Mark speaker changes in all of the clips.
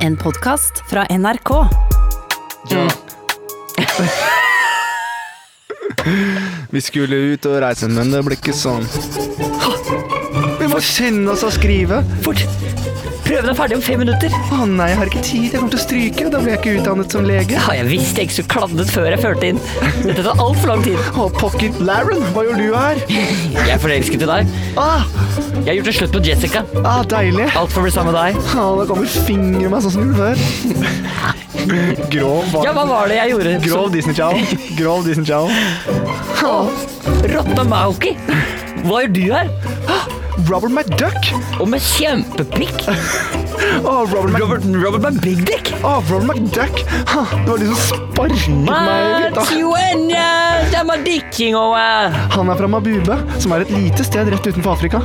Speaker 1: En podkast fra NRK.
Speaker 2: Vi skulle ut og reise, men det ble ikke sånn. Vi må skynde oss å skrive!
Speaker 3: Fort! Prøven er ferdig om fem minutter.
Speaker 2: Å nei, jeg har ikke tid. Jeg kommer til å stryke. Da blir jeg ikke utdannet som lege.
Speaker 3: Ja, jeg visste jeg ikke skulle kladdet før jeg førte inn. Dette tar altfor lang tid.
Speaker 2: Å, pokker. Laren, hva gjør du her?
Speaker 3: Jeg er forelsket i deg.
Speaker 2: Ah,
Speaker 3: Jeg har gjort det slutt med Jessica.
Speaker 2: ah deilig.
Speaker 3: Alt for å bli sammen med deg.
Speaker 2: Å, da kommer fingre meg sånn som hun før. Grov,
Speaker 3: Ja, hva var det jeg gjorde?
Speaker 2: Grov Disney Channel. Grov Disney Channel.
Speaker 3: Rotta Mauki! Hva gjør du her?
Speaker 2: Robert McDuck.
Speaker 3: Og med kjempepikk?
Speaker 2: Å, Robert Mc...
Speaker 3: Robert, Robert med big dick?
Speaker 2: Å, Robert McDuck. Ha, Det var de som sparket
Speaker 3: Ah,
Speaker 2: meg i fitta.
Speaker 3: Matsuenya, Jamadikking og eh,
Speaker 2: Han er fra Mabube, som er et lite sted rett utenfor Afrika.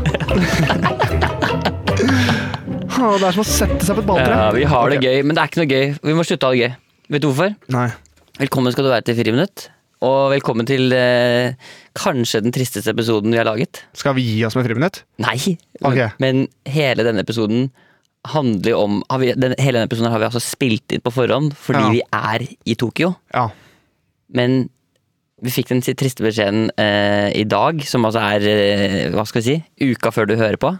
Speaker 2: Å, det er som å sette seg på et balltre.
Speaker 3: Ja, vi har det gøy, men det er ikke noe gøy. Vi må slutte å ha det gøy. Vet du hvorfor?
Speaker 2: Nei.
Speaker 3: Velkommen skal du være til Friminutt. Og velkommen til eh, kanskje den tristeste episoden vi har laget.
Speaker 2: Skal vi gi oss med friminutt?
Speaker 3: Nei,
Speaker 2: Ok.
Speaker 3: men hele denne episoden handler jo om har vi, den, Hele denne episoden har vi altså spilt inn på forhånd fordi
Speaker 2: Ja.
Speaker 3: vi er i Tokyo.
Speaker 2: Ja.
Speaker 3: Men vi fikk den triste beskjeden eh, i dag, som altså er eh, hva skal vi si, uka før du hører på.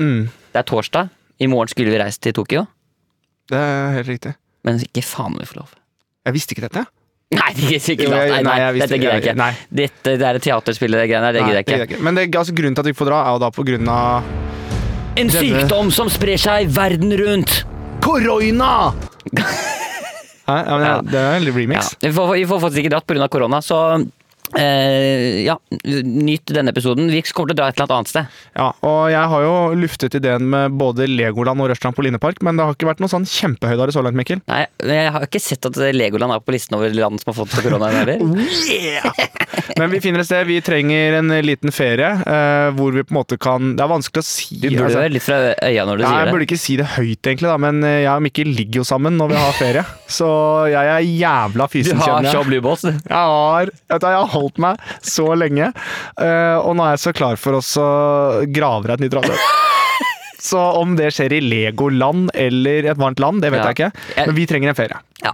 Speaker 2: Mm.
Speaker 3: Det er torsdag. I morgen skulle vi reist til Tokyo,
Speaker 2: Det er helt riktig.
Speaker 3: men ikke faen om vi får lov.
Speaker 2: Jeg visste ikke dette.
Speaker 3: Nei, det er sikkert
Speaker 2: Jo, jeg-
Speaker 3: nei, nei,
Speaker 2: nei, jeg visste-
Speaker 3: dette gidder jeg
Speaker 2: jeg-
Speaker 3: ikke.
Speaker 2: nei.
Speaker 3: Dette det er teaterspill, det greiene der, det
Speaker 2: Nei,
Speaker 3: gidder jeg ikke.
Speaker 2: gidder Men det, altså, grunnen til at vi ikke får dra, er jo da på grunn av
Speaker 3: En sykdom som sprer seg verden rundt.
Speaker 2: Korona! Hæ? Ja, men,
Speaker 3: Ja.
Speaker 2: Det er en
Speaker 3: Ja,
Speaker 2: remix.
Speaker 3: vi, får, vi får faktisk ikke dratt pga. korona, så eh, ja, nyt denne episoden. Vi kommer til å dra et eller annet annet sted.
Speaker 2: Ja, og jeg har jo luftet ideen med både Legoland og Rush Trampolinepark, men det har ikke vært noen sånn kjempehøydare så langt, Mikkel.
Speaker 3: Nei, men Jeg har ikke sett at Legoland er på listen over land som har fått korona. heller.
Speaker 2: Men vi finner et sted. Vi trenger en liten ferie eh, hvor vi på en måte kan Det er vanskelig å si. altså.
Speaker 3: Du burde være Altså, litt fra øya når du
Speaker 2: Nei, jeg
Speaker 3: sier det.
Speaker 2: burde ikke si det høyt, egentlig, da, men eh, jeg og Mikkel ligger jo sammen når vi har ferie. Så jeg er jævla
Speaker 3: Du
Speaker 2: fysen,
Speaker 3: har
Speaker 2: kjenner
Speaker 3: så
Speaker 2: jeg.
Speaker 3: blue balls. du.
Speaker 2: Jeg har, vet du, jeg har holdt meg så lenge, eh, og nå er jeg så klar for oss å grave deg et nytt radiohus. Så om det skjer i Legoland eller et varmt land, det vet
Speaker 3: Ja.
Speaker 2: jeg ikke. Men vi trenger en ferie.
Speaker 3: Ja,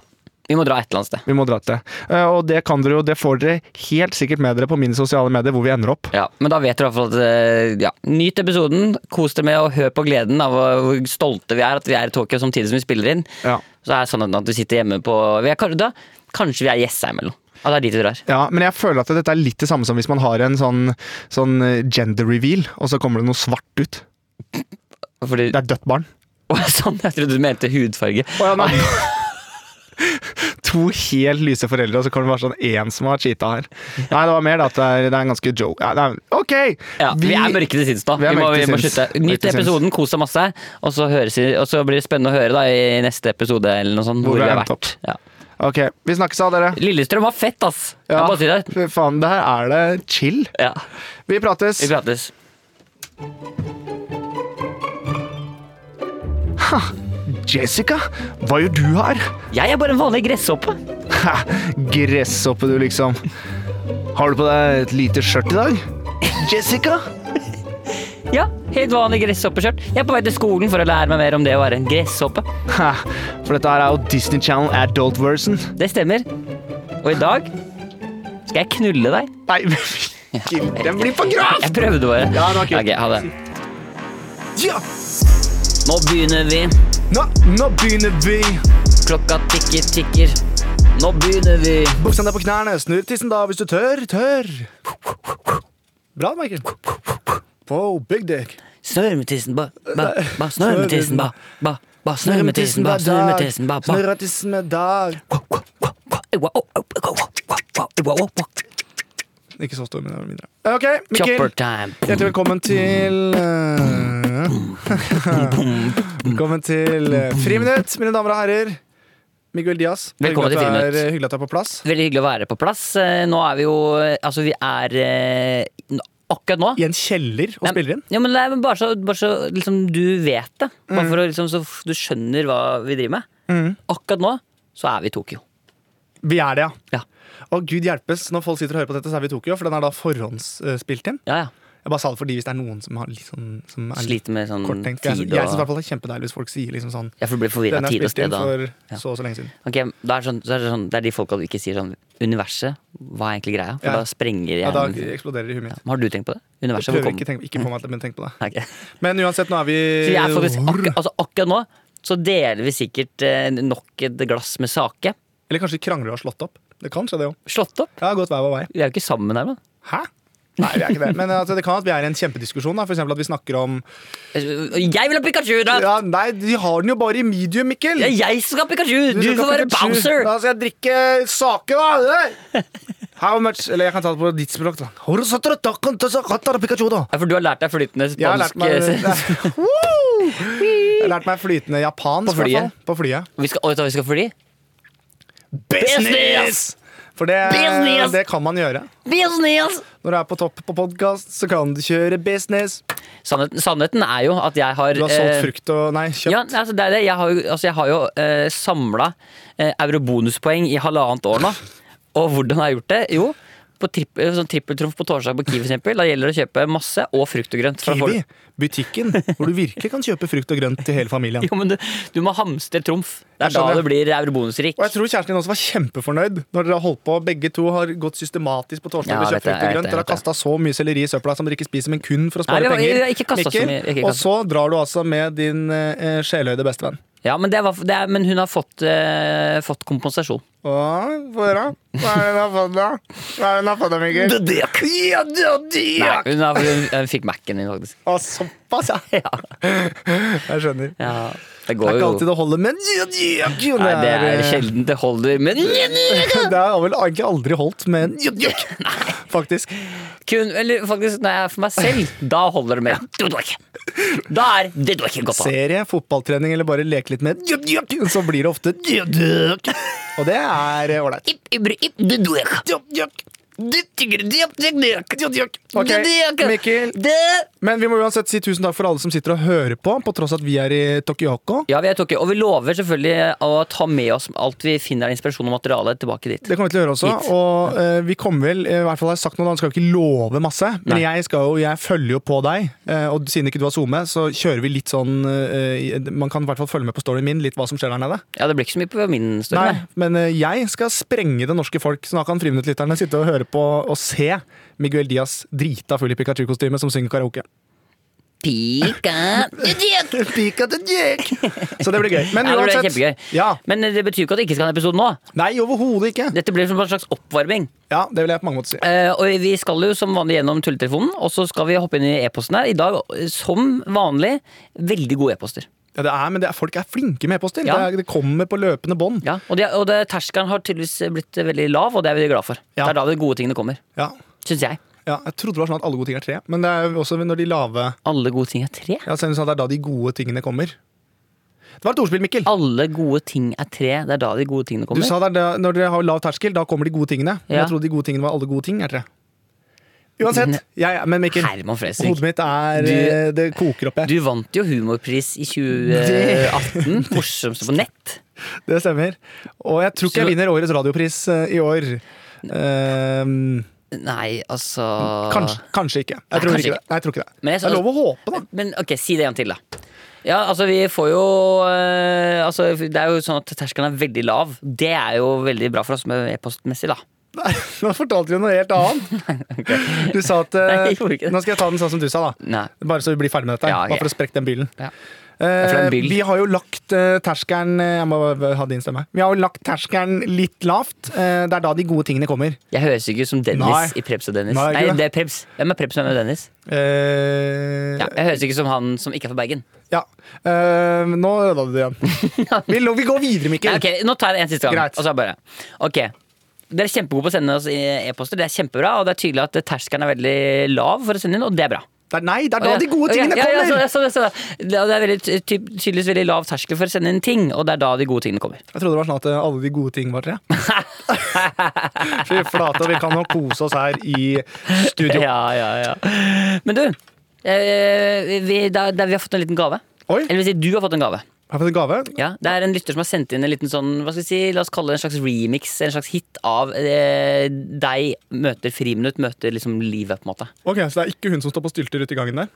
Speaker 3: Vi må dra et eller annet sted.
Speaker 2: Vi må dra til det. Eh, Og det kan dere jo, det får dere helt sikkert med dere på mine sosiale medier hvor vi ender opp.
Speaker 3: Ja, Men da vet dere i hvert fall at eh, ja, Nyt episoden. Kos dere med og hør på gleden av hvor hvor stolte vi er at vi er i Tokyo samtidig som vi spiller inn.
Speaker 2: Ja.
Speaker 3: Så er det sånn at vi sitter hjemme på vi er, da, Kanskje vi er Jessheim eller noe. Ja, det er dit vi drar.
Speaker 2: Ja, men jeg føler at dette er litt det samme som hvis man har en sånn, sånn eh, gender reveal, og så kommer det noe svart ut.
Speaker 3: Fordi,
Speaker 2: Det er dødt barn.
Speaker 3: Å, sånn, jeg trodde du mente hudfarge.
Speaker 2: To helt lyse foreldre, og så kommer det bare sånn én som har cheata her. Nei, det var mer da at det er, det er en ganske joke. Ja, det er, OK!
Speaker 3: Ja, vi, er mørke til sinns nå.
Speaker 2: Vi
Speaker 3: Vi,
Speaker 2: er
Speaker 3: må,
Speaker 2: mørke
Speaker 3: vi
Speaker 2: til
Speaker 3: må
Speaker 2: sinns.
Speaker 3: slutte.
Speaker 2: Mørke
Speaker 3: Nyt
Speaker 2: til sinns.
Speaker 3: episoden, kos deg masse. Og så, høres, vi- og så blir det spennende å høre da, i neste episode eller noe sånt,
Speaker 2: Hvor
Speaker 3: hvor,
Speaker 2: vi
Speaker 3: vi
Speaker 2: har
Speaker 3: har
Speaker 2: endt
Speaker 3: vært. Ja.
Speaker 2: OK, vi snakkes av, dere.
Speaker 3: Lillestrøm var fett, ass! Jeg bare sier det.
Speaker 2: Fy faen, der er det chill.
Speaker 3: Ja,
Speaker 2: Vi prates.
Speaker 3: vi prates.
Speaker 2: Jessica, hva gjør du her?
Speaker 3: Jeg er bare en vanlig gresshoppe.
Speaker 2: Ha, gresshoppe, du, liksom. Har du på deg et lite skjørt i dag? Jessica?
Speaker 3: Ja, helt vanlig gresshoppeskjørt. Jeg er på vei til skolen for å lære meg mer om det å være en gresshoppe.
Speaker 2: Ha, for dette her er jo Disney Channel Adult Version.
Speaker 3: Det stemmer. Og i dag skal jeg knulle deg.
Speaker 2: Nei, Mikkel, den blir for grav!
Speaker 3: Jeg prøvde bare.
Speaker 2: Ja, det var kult.
Speaker 3: Ok, ha det.
Speaker 2: Ja,
Speaker 3: Nå begynner vi.
Speaker 2: nå, nå begynner vi.
Speaker 3: Klokka tikker, tikker. Nå begynner vi.
Speaker 2: Buksa ned på knærne, snurr tissen da hvis du tør, tør. Bra, Mikkel. Wow, big dick.
Speaker 3: Snurr med tissen, ba, ba, ba, snurr med tissen, ba, ba, ba, snurr med tissen, ba, snurr med tissen, ba, ba.
Speaker 2: Snurra tissen med dag. Ikke så stor, men det var mindre. Ok,
Speaker 3: Chopper
Speaker 2: Mikkel.
Speaker 3: time.
Speaker 2: Hjertelig velkommen til eh, Velkommen til eh, Friminutt, mine damer og herrer. Miguel Diaz.
Speaker 3: Velkommen til
Speaker 2: Hyggelig at du er-
Speaker 3: Friminutt.
Speaker 2: Hyggelig at du er på plass.
Speaker 3: Veldig hyggelig å være på plass. Eh, Nå er vi jo eh, Altså, vi er eh, n- Akkurat nå
Speaker 2: I en kjeller og spiller inn.
Speaker 3: Ja, men det er bare så, bare så liksom, du vet det. Bare
Speaker 2: Mm.
Speaker 3: for å, liksom, så f- du skjønner hva vi driver med. Akkurat nå så er vi i Tokyo.
Speaker 2: Vi er det, ja.
Speaker 3: Ja.
Speaker 2: Og gud hjelpes, når folk sitter og hører på dette, så er vi i Tokyo, for den er da forhåndsspilt inn.
Speaker 3: Ja, ja.
Speaker 2: Ja, Jeg bare sa det fordi hvis det er noen som, har litt sånn, som er litt
Speaker 3: Sliter med sånn
Speaker 2: korttenkt. Jeg,
Speaker 3: tid
Speaker 2: jeg syns i hvert
Speaker 3: og
Speaker 2: fall det er kjempedeilig hvis folk sier liksom sånn
Speaker 3: Ja, for du blir forvirra
Speaker 2: Den er
Speaker 3: av tid og
Speaker 2: spilt inn
Speaker 3: sted. Og...
Speaker 2: for
Speaker 3: Ja.
Speaker 2: så og så lenge siden.
Speaker 3: Ok, da er det, sånn, så er det, sånn, det er de folka du ikke sier sånn Universet, hva er egentlig greia? For
Speaker 2: Ja.
Speaker 3: da sprenger
Speaker 2: Ja, da
Speaker 3: hjernen. Ja,
Speaker 2: eksploderer det i huet mitt.
Speaker 3: Har du tenkt på det? Universet, hvor
Speaker 2: Prøver
Speaker 3: kom
Speaker 2: ikke, tenk, ikke på meg, men tenk på det.
Speaker 3: Nei, ok.
Speaker 2: Men uansett, nå er vi
Speaker 3: Så jeg er faktisk, akkur altså, akkurat nå så deler vi sikkert eh, nok et glass med sake.
Speaker 2: Eller kanskje de krangler og har slått opp. Det kan skje, det òg.
Speaker 3: Slått opp.
Speaker 2: Jeg har gått hver vår vei.
Speaker 3: Vi er jo ikke sammen her, da.
Speaker 2: Hæ? Nei, vi er ikke det. Men altså, det kan at vi er i en kjempediskusjon. Da. For eksempel at vi snakker om
Speaker 3: Jeg vil ha Pikachu! da!
Speaker 2: ja, Nei, de har den jo bare i medium, Mikkel!
Speaker 3: Det er jeg som skal ha Pikachu! Du,
Speaker 2: skal
Speaker 3: får
Speaker 2: ikke
Speaker 3: være
Speaker 2: ha Pikachu.
Speaker 3: Bowser!
Speaker 2: Da skal jeg drikke sake, da! How much? Eller jeg kan ta det på ditt språk, da. Hvor satt dere takken til så katt er det Pikachu, da?
Speaker 3: Ja, for du har lært deg flytende
Speaker 2: Jeg har lært
Speaker 3: spansk.
Speaker 2: meg
Speaker 3: eh,
Speaker 2: Woo! Jeg har lært meg flytende japansk.
Speaker 3: På flyet.
Speaker 2: i hvert fall. På flyet.
Speaker 3: Vi skal, og vet du hva vi skal fly? Business!
Speaker 2: For det,
Speaker 3: Business!
Speaker 2: det kan man gjøre.
Speaker 3: Business!
Speaker 2: Når du er på topp på podkast, så kan du kjøre business.
Speaker 3: Sannheten, sannheten er jo at jeg har
Speaker 2: Du har
Speaker 3: eh,
Speaker 2: solgt frukt og Nei, kjøpt.
Speaker 3: Ja, altså det er det. Jeg har jo, altså jeg har jo eh, samla eh, eurobonuspoeng i halvannet år nå. Og hvordan har jeg gjort det? Jo, på tripp, eh, sånn trippeltrumf på torsdag på Kiwi for eksempel. Da gjelder det å kjøpe masse og frukt og grønt. fra
Speaker 2: Kiwi,
Speaker 3: folk.
Speaker 2: butikken hvor du virkelig kan kjøpe frukt og grønt til hele familien.
Speaker 3: Jo, men du, du må hamstre trumf. Det
Speaker 2: Jeg
Speaker 3: er da
Speaker 2: skjønner.
Speaker 3: du blir eurobonusrik.
Speaker 2: Og jeg tror kjæresten din også var kjempefornøyd når dere har holdt på. Begge to har gått systematisk på torsdag
Speaker 3: Ja,
Speaker 2: og
Speaker 3: jeg vet
Speaker 2: kjøpt frukt
Speaker 3: det,
Speaker 2: og
Speaker 3: jeg vet
Speaker 2: grønt. Dere
Speaker 3: det,
Speaker 2: har
Speaker 3: jeg vet
Speaker 2: kasta så mye selleri i søpla som dere ikke spiser, men kun for å
Speaker 3: Nei,
Speaker 2: spare
Speaker 3: det var-
Speaker 2: penger.
Speaker 3: jeg har ikke kastet så mye, jeg har ikke
Speaker 2: og
Speaker 3: kastet.
Speaker 2: så drar du altså med din eh, sjelhøyde bestevenn.
Speaker 3: Ja, men, det var, det er, men hun har fått, eh, fått kompensasjon.
Speaker 2: Å, Få høre. Hva er det hun har fått, da? Hva er det hun har fått, da, Mikkel? Ja, det er det.
Speaker 3: Nei, hun, har, hun, hun fikk Mac-en din, faktisk.
Speaker 2: Å, såpass, ja. Jeg skjønner. Det
Speaker 3: Ja, det
Speaker 2: er
Speaker 3: går
Speaker 2: ikke
Speaker 3: jo
Speaker 2: alltid det holder, men ja, ja, ja,
Speaker 3: Nei, det er
Speaker 2: eh,
Speaker 3: sjelden det holder, men
Speaker 2: Det har vel egentlig aldri holdt med en jodjok, faktisk.
Speaker 3: Kun, eller faktisk når jeg er for meg selv, da holder det med. Det var ikke. Da er det var ikke godt. da.
Speaker 2: Serie, fotballtrening eller bare leke litt med en jodjok, så blir det ofte jodjok. Og det er eh, ålreit.
Speaker 3: Ipp, ibru, ipp, det var ikke.
Speaker 2: Jodjok,
Speaker 3: Det tygger, det er- det er ikke.
Speaker 2: jodjok.
Speaker 3: Det
Speaker 2: Ok,
Speaker 3: er ikke.
Speaker 2: Mikkel.
Speaker 3: Det-
Speaker 2: Men vi må uansett si tusen takk for alle som sitter og hører på, på tross at vi er i Tokyoko.
Speaker 3: Ja, vi er Tokyo, og vi lover selvfølgelig å ta med oss alt vi finner av inspirasjon og materiale tilbake dit.
Speaker 2: Det kommer vi til å gjøre også.
Speaker 3: Hit.
Speaker 2: Og eh, vi kommer vel, i hvert fall har jeg sagt noe, da skal vi ikke love masse. Men
Speaker 3: Nei.
Speaker 2: jeg, skal jo, jeg følger jo på deg, eh, og siden ikke du har SoMe, så kjører vi litt sånn eh, i- Man kan i hvert fall følge med på storyen min, litt hva som skjer der nede.
Speaker 3: Ja, det blir ikke så mye på min story.
Speaker 2: Nei,
Speaker 3: nei.
Speaker 2: men eh, jeg skal sprenge det norske folk, så da kan friminuttlytterne sitte og høre på og se Miguel Diaz drita full i Pikachu-kostyme som synger karaoke.
Speaker 3: Pika.
Speaker 2: Så det blir gøy. Men
Speaker 3: Ja, det ble
Speaker 2: uansett
Speaker 3: kjempegøy.
Speaker 2: Ja.
Speaker 3: Men eh, det betyr jo ikke at det ikke skal ha en episode nå.
Speaker 2: Nei, overhodet ikke.
Speaker 3: Dette blir som en slags oppvarming.
Speaker 2: Ja, det vil jeg på mange måter si.
Speaker 3: Eh, og vi skal jo som vanlig gjennom tulletelefonen, og så skal vi hoppe inn i e-posten her. I dag, eh, som vanlig, veldig gode e-poster.
Speaker 2: Ja, det er, men det er, folk er flinke med e-poster.
Speaker 3: Ja.
Speaker 2: Det, er- det kommer på løpende bånd.
Speaker 3: Ja, og det, og det, terskelen har tydeligvis blitt veldig lav, og det er vi glad for.
Speaker 2: Ja.
Speaker 3: Det er da de gode tingene kommer,
Speaker 2: Ja.
Speaker 3: syns jeg.
Speaker 2: Ja, jeg trodde det var sånn at alle gode ting er tre, men det er jo også når de lave
Speaker 3: Alle gode ting er tre.
Speaker 2: Ja, sånn at det er da de gode tingene kommer. Det var et ordspill, Mikkel.
Speaker 3: Alle gode ting er tre. Det er da de gode tingene
Speaker 2: Du
Speaker 3: kommer.
Speaker 2: sa det, er da- når dere har lav terskel, da kommer de gode tingene. Men
Speaker 3: Ja.
Speaker 2: jeg trodde de gode tingene var alle gode ting er tre. Uansett. Jeg, men Mikkel,
Speaker 3: Herman
Speaker 2: hodet
Speaker 3: Fresvik.
Speaker 2: mitt er eh, Det koker opp, jeg.
Speaker 3: Du vant jo humorpris i 2018. Morsomste på nett.
Speaker 2: Det stemmer. Og jeg tror ikke jeg
Speaker 3: Så-
Speaker 2: vinner årets radiopris eh, i år. Ehm,
Speaker 3: Nei, altså
Speaker 2: kanskje, kanskje ikke. Jeg tror
Speaker 3: kanskje
Speaker 2: ikke det.
Speaker 3: ikke.
Speaker 2: Nei, jeg tror ikke det.
Speaker 3: Men
Speaker 2: Det
Speaker 3: jeg-
Speaker 2: er lov å håpe, da.
Speaker 3: Men ok, si det en til, da. Ja, altså vi får jo eh, altså, Det er jo sånn at terskelen er veldig lav. Det er jo veldig bra for oss med e-postmessig, da.
Speaker 2: Nei, Nå fortalte du noe helt annet. Du sa at eh,
Speaker 3: Nei, jeg gjorde ikke det.
Speaker 2: Nå skal jeg ta den sånn som du sa, da.
Speaker 3: Nei.
Speaker 2: Bare så vi blir ferdig med dette.
Speaker 3: Ja, ok.
Speaker 2: Bare for å sprekke den byllen.
Speaker 3: Ja. for det er
Speaker 2: Eh,
Speaker 3: en byll.
Speaker 2: vi har jo lagt eh, terskelen eh, Jeg må eh, ha din stemme. Vi har jo lagt terskelen litt lavt. Eh, det er da de gode tingene kommer.
Speaker 3: Jeg høres ikke ut som Dennis
Speaker 2: Nei.
Speaker 3: i Prebz og Dennis.
Speaker 2: Nei,
Speaker 3: Nei,
Speaker 2: ikke det.
Speaker 3: det er Prebz. Hvem er Prebz og hvem er Dennis?
Speaker 2: Eh,
Speaker 3: Ja, jeg høres ikke ut som han som ikke er fra Bergen.
Speaker 2: ja. Eh, nå ødela du det igjen. Vi, lo- vi går videre, Mikkel.
Speaker 3: Nei, ok, Nå tar jeg det en siste gang.
Speaker 2: Greit.
Speaker 3: Og så er det bare. Ok, Dere er kjempegode på å sende oss e-poster. Det er kjempebra, og det er tydelig at terskelen er veldig lav for å sende inn, og det er bra.
Speaker 2: Det er, nei, det er
Speaker 3: Og
Speaker 2: da
Speaker 3: jeg-
Speaker 2: de gode
Speaker 3: og jeg-
Speaker 2: tingene
Speaker 3: ja, ja,
Speaker 2: kommer!
Speaker 3: så- så- så- så- Det det er veldig, ty- tydeligvis veldig lav terskel for å sende inn ting, og det er da de gode tingene kommer.
Speaker 2: Jeg trodde det var sånn at eh, alle de gode ting var tre. Fy flate, vi kan nå kose oss her i studio.
Speaker 3: Ja, ja, ja. Men du, eh, vi, da, da, vi har fått en liten gave.
Speaker 2: Oi.
Speaker 3: Eller vil si, du har fått en gave.
Speaker 2: Har jeg fått en gave?
Speaker 3: Ja, det er en lytter som har sendt inn en liten sånn, hva skal vi si, la oss kalle det en slags remix, en slags hit av eh, deg møter friminutt, møter liksom livet, på en måte.
Speaker 2: Ok, Så det er ikke hun som står på stylter ute i gangen der?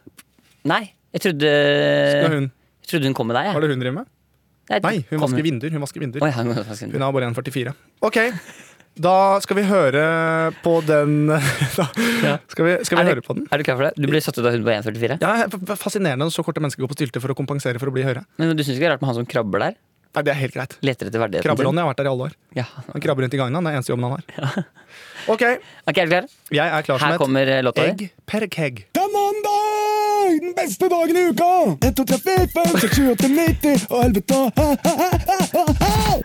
Speaker 3: Nei, jeg trodde
Speaker 2: Det er hun.
Speaker 3: Jeg trodde hun kom med deg,
Speaker 2: Hva
Speaker 3: jeg.
Speaker 2: er det hun driver med? Nei, hun vasker vinduer. Hun vasker vinduer.
Speaker 3: Oi, ja, hun vasker vinduer.
Speaker 2: Hun har bare 1,44. Ok, da skal vi høre på den da,
Speaker 3: Ja.
Speaker 2: Skal vi, skal vi
Speaker 3: Er det-
Speaker 2: høre på den?
Speaker 3: Er du klar for det? Du ble satt ut av hun på 1,44?
Speaker 2: Ja, f- Fascinerende når så korte mennesker går på stylte for å kompensere for å bli høyere.
Speaker 3: Men du syns ikke det er rart med han som krabber der?
Speaker 2: Nei, Det er helt greit.
Speaker 3: Leter etter verdigheten
Speaker 2: Krabberonny har vært der i alle år.
Speaker 3: sin? Ja.
Speaker 2: Han krabber rundt i gangen. han. Det er eneste jobben han har. Ok,
Speaker 3: Ok, er du klar?
Speaker 2: jeg er klar
Speaker 3: Her
Speaker 2: som
Speaker 3: kommer eh,
Speaker 2: et
Speaker 3: låta di.
Speaker 2: egg per keg.
Speaker 4: Det er mandag! Den beste dagen i uka! 1, 2, 3, 4, 5, 6, 7, 8, 90 og helvete! Ha, ha, ha, ha, ha, ha.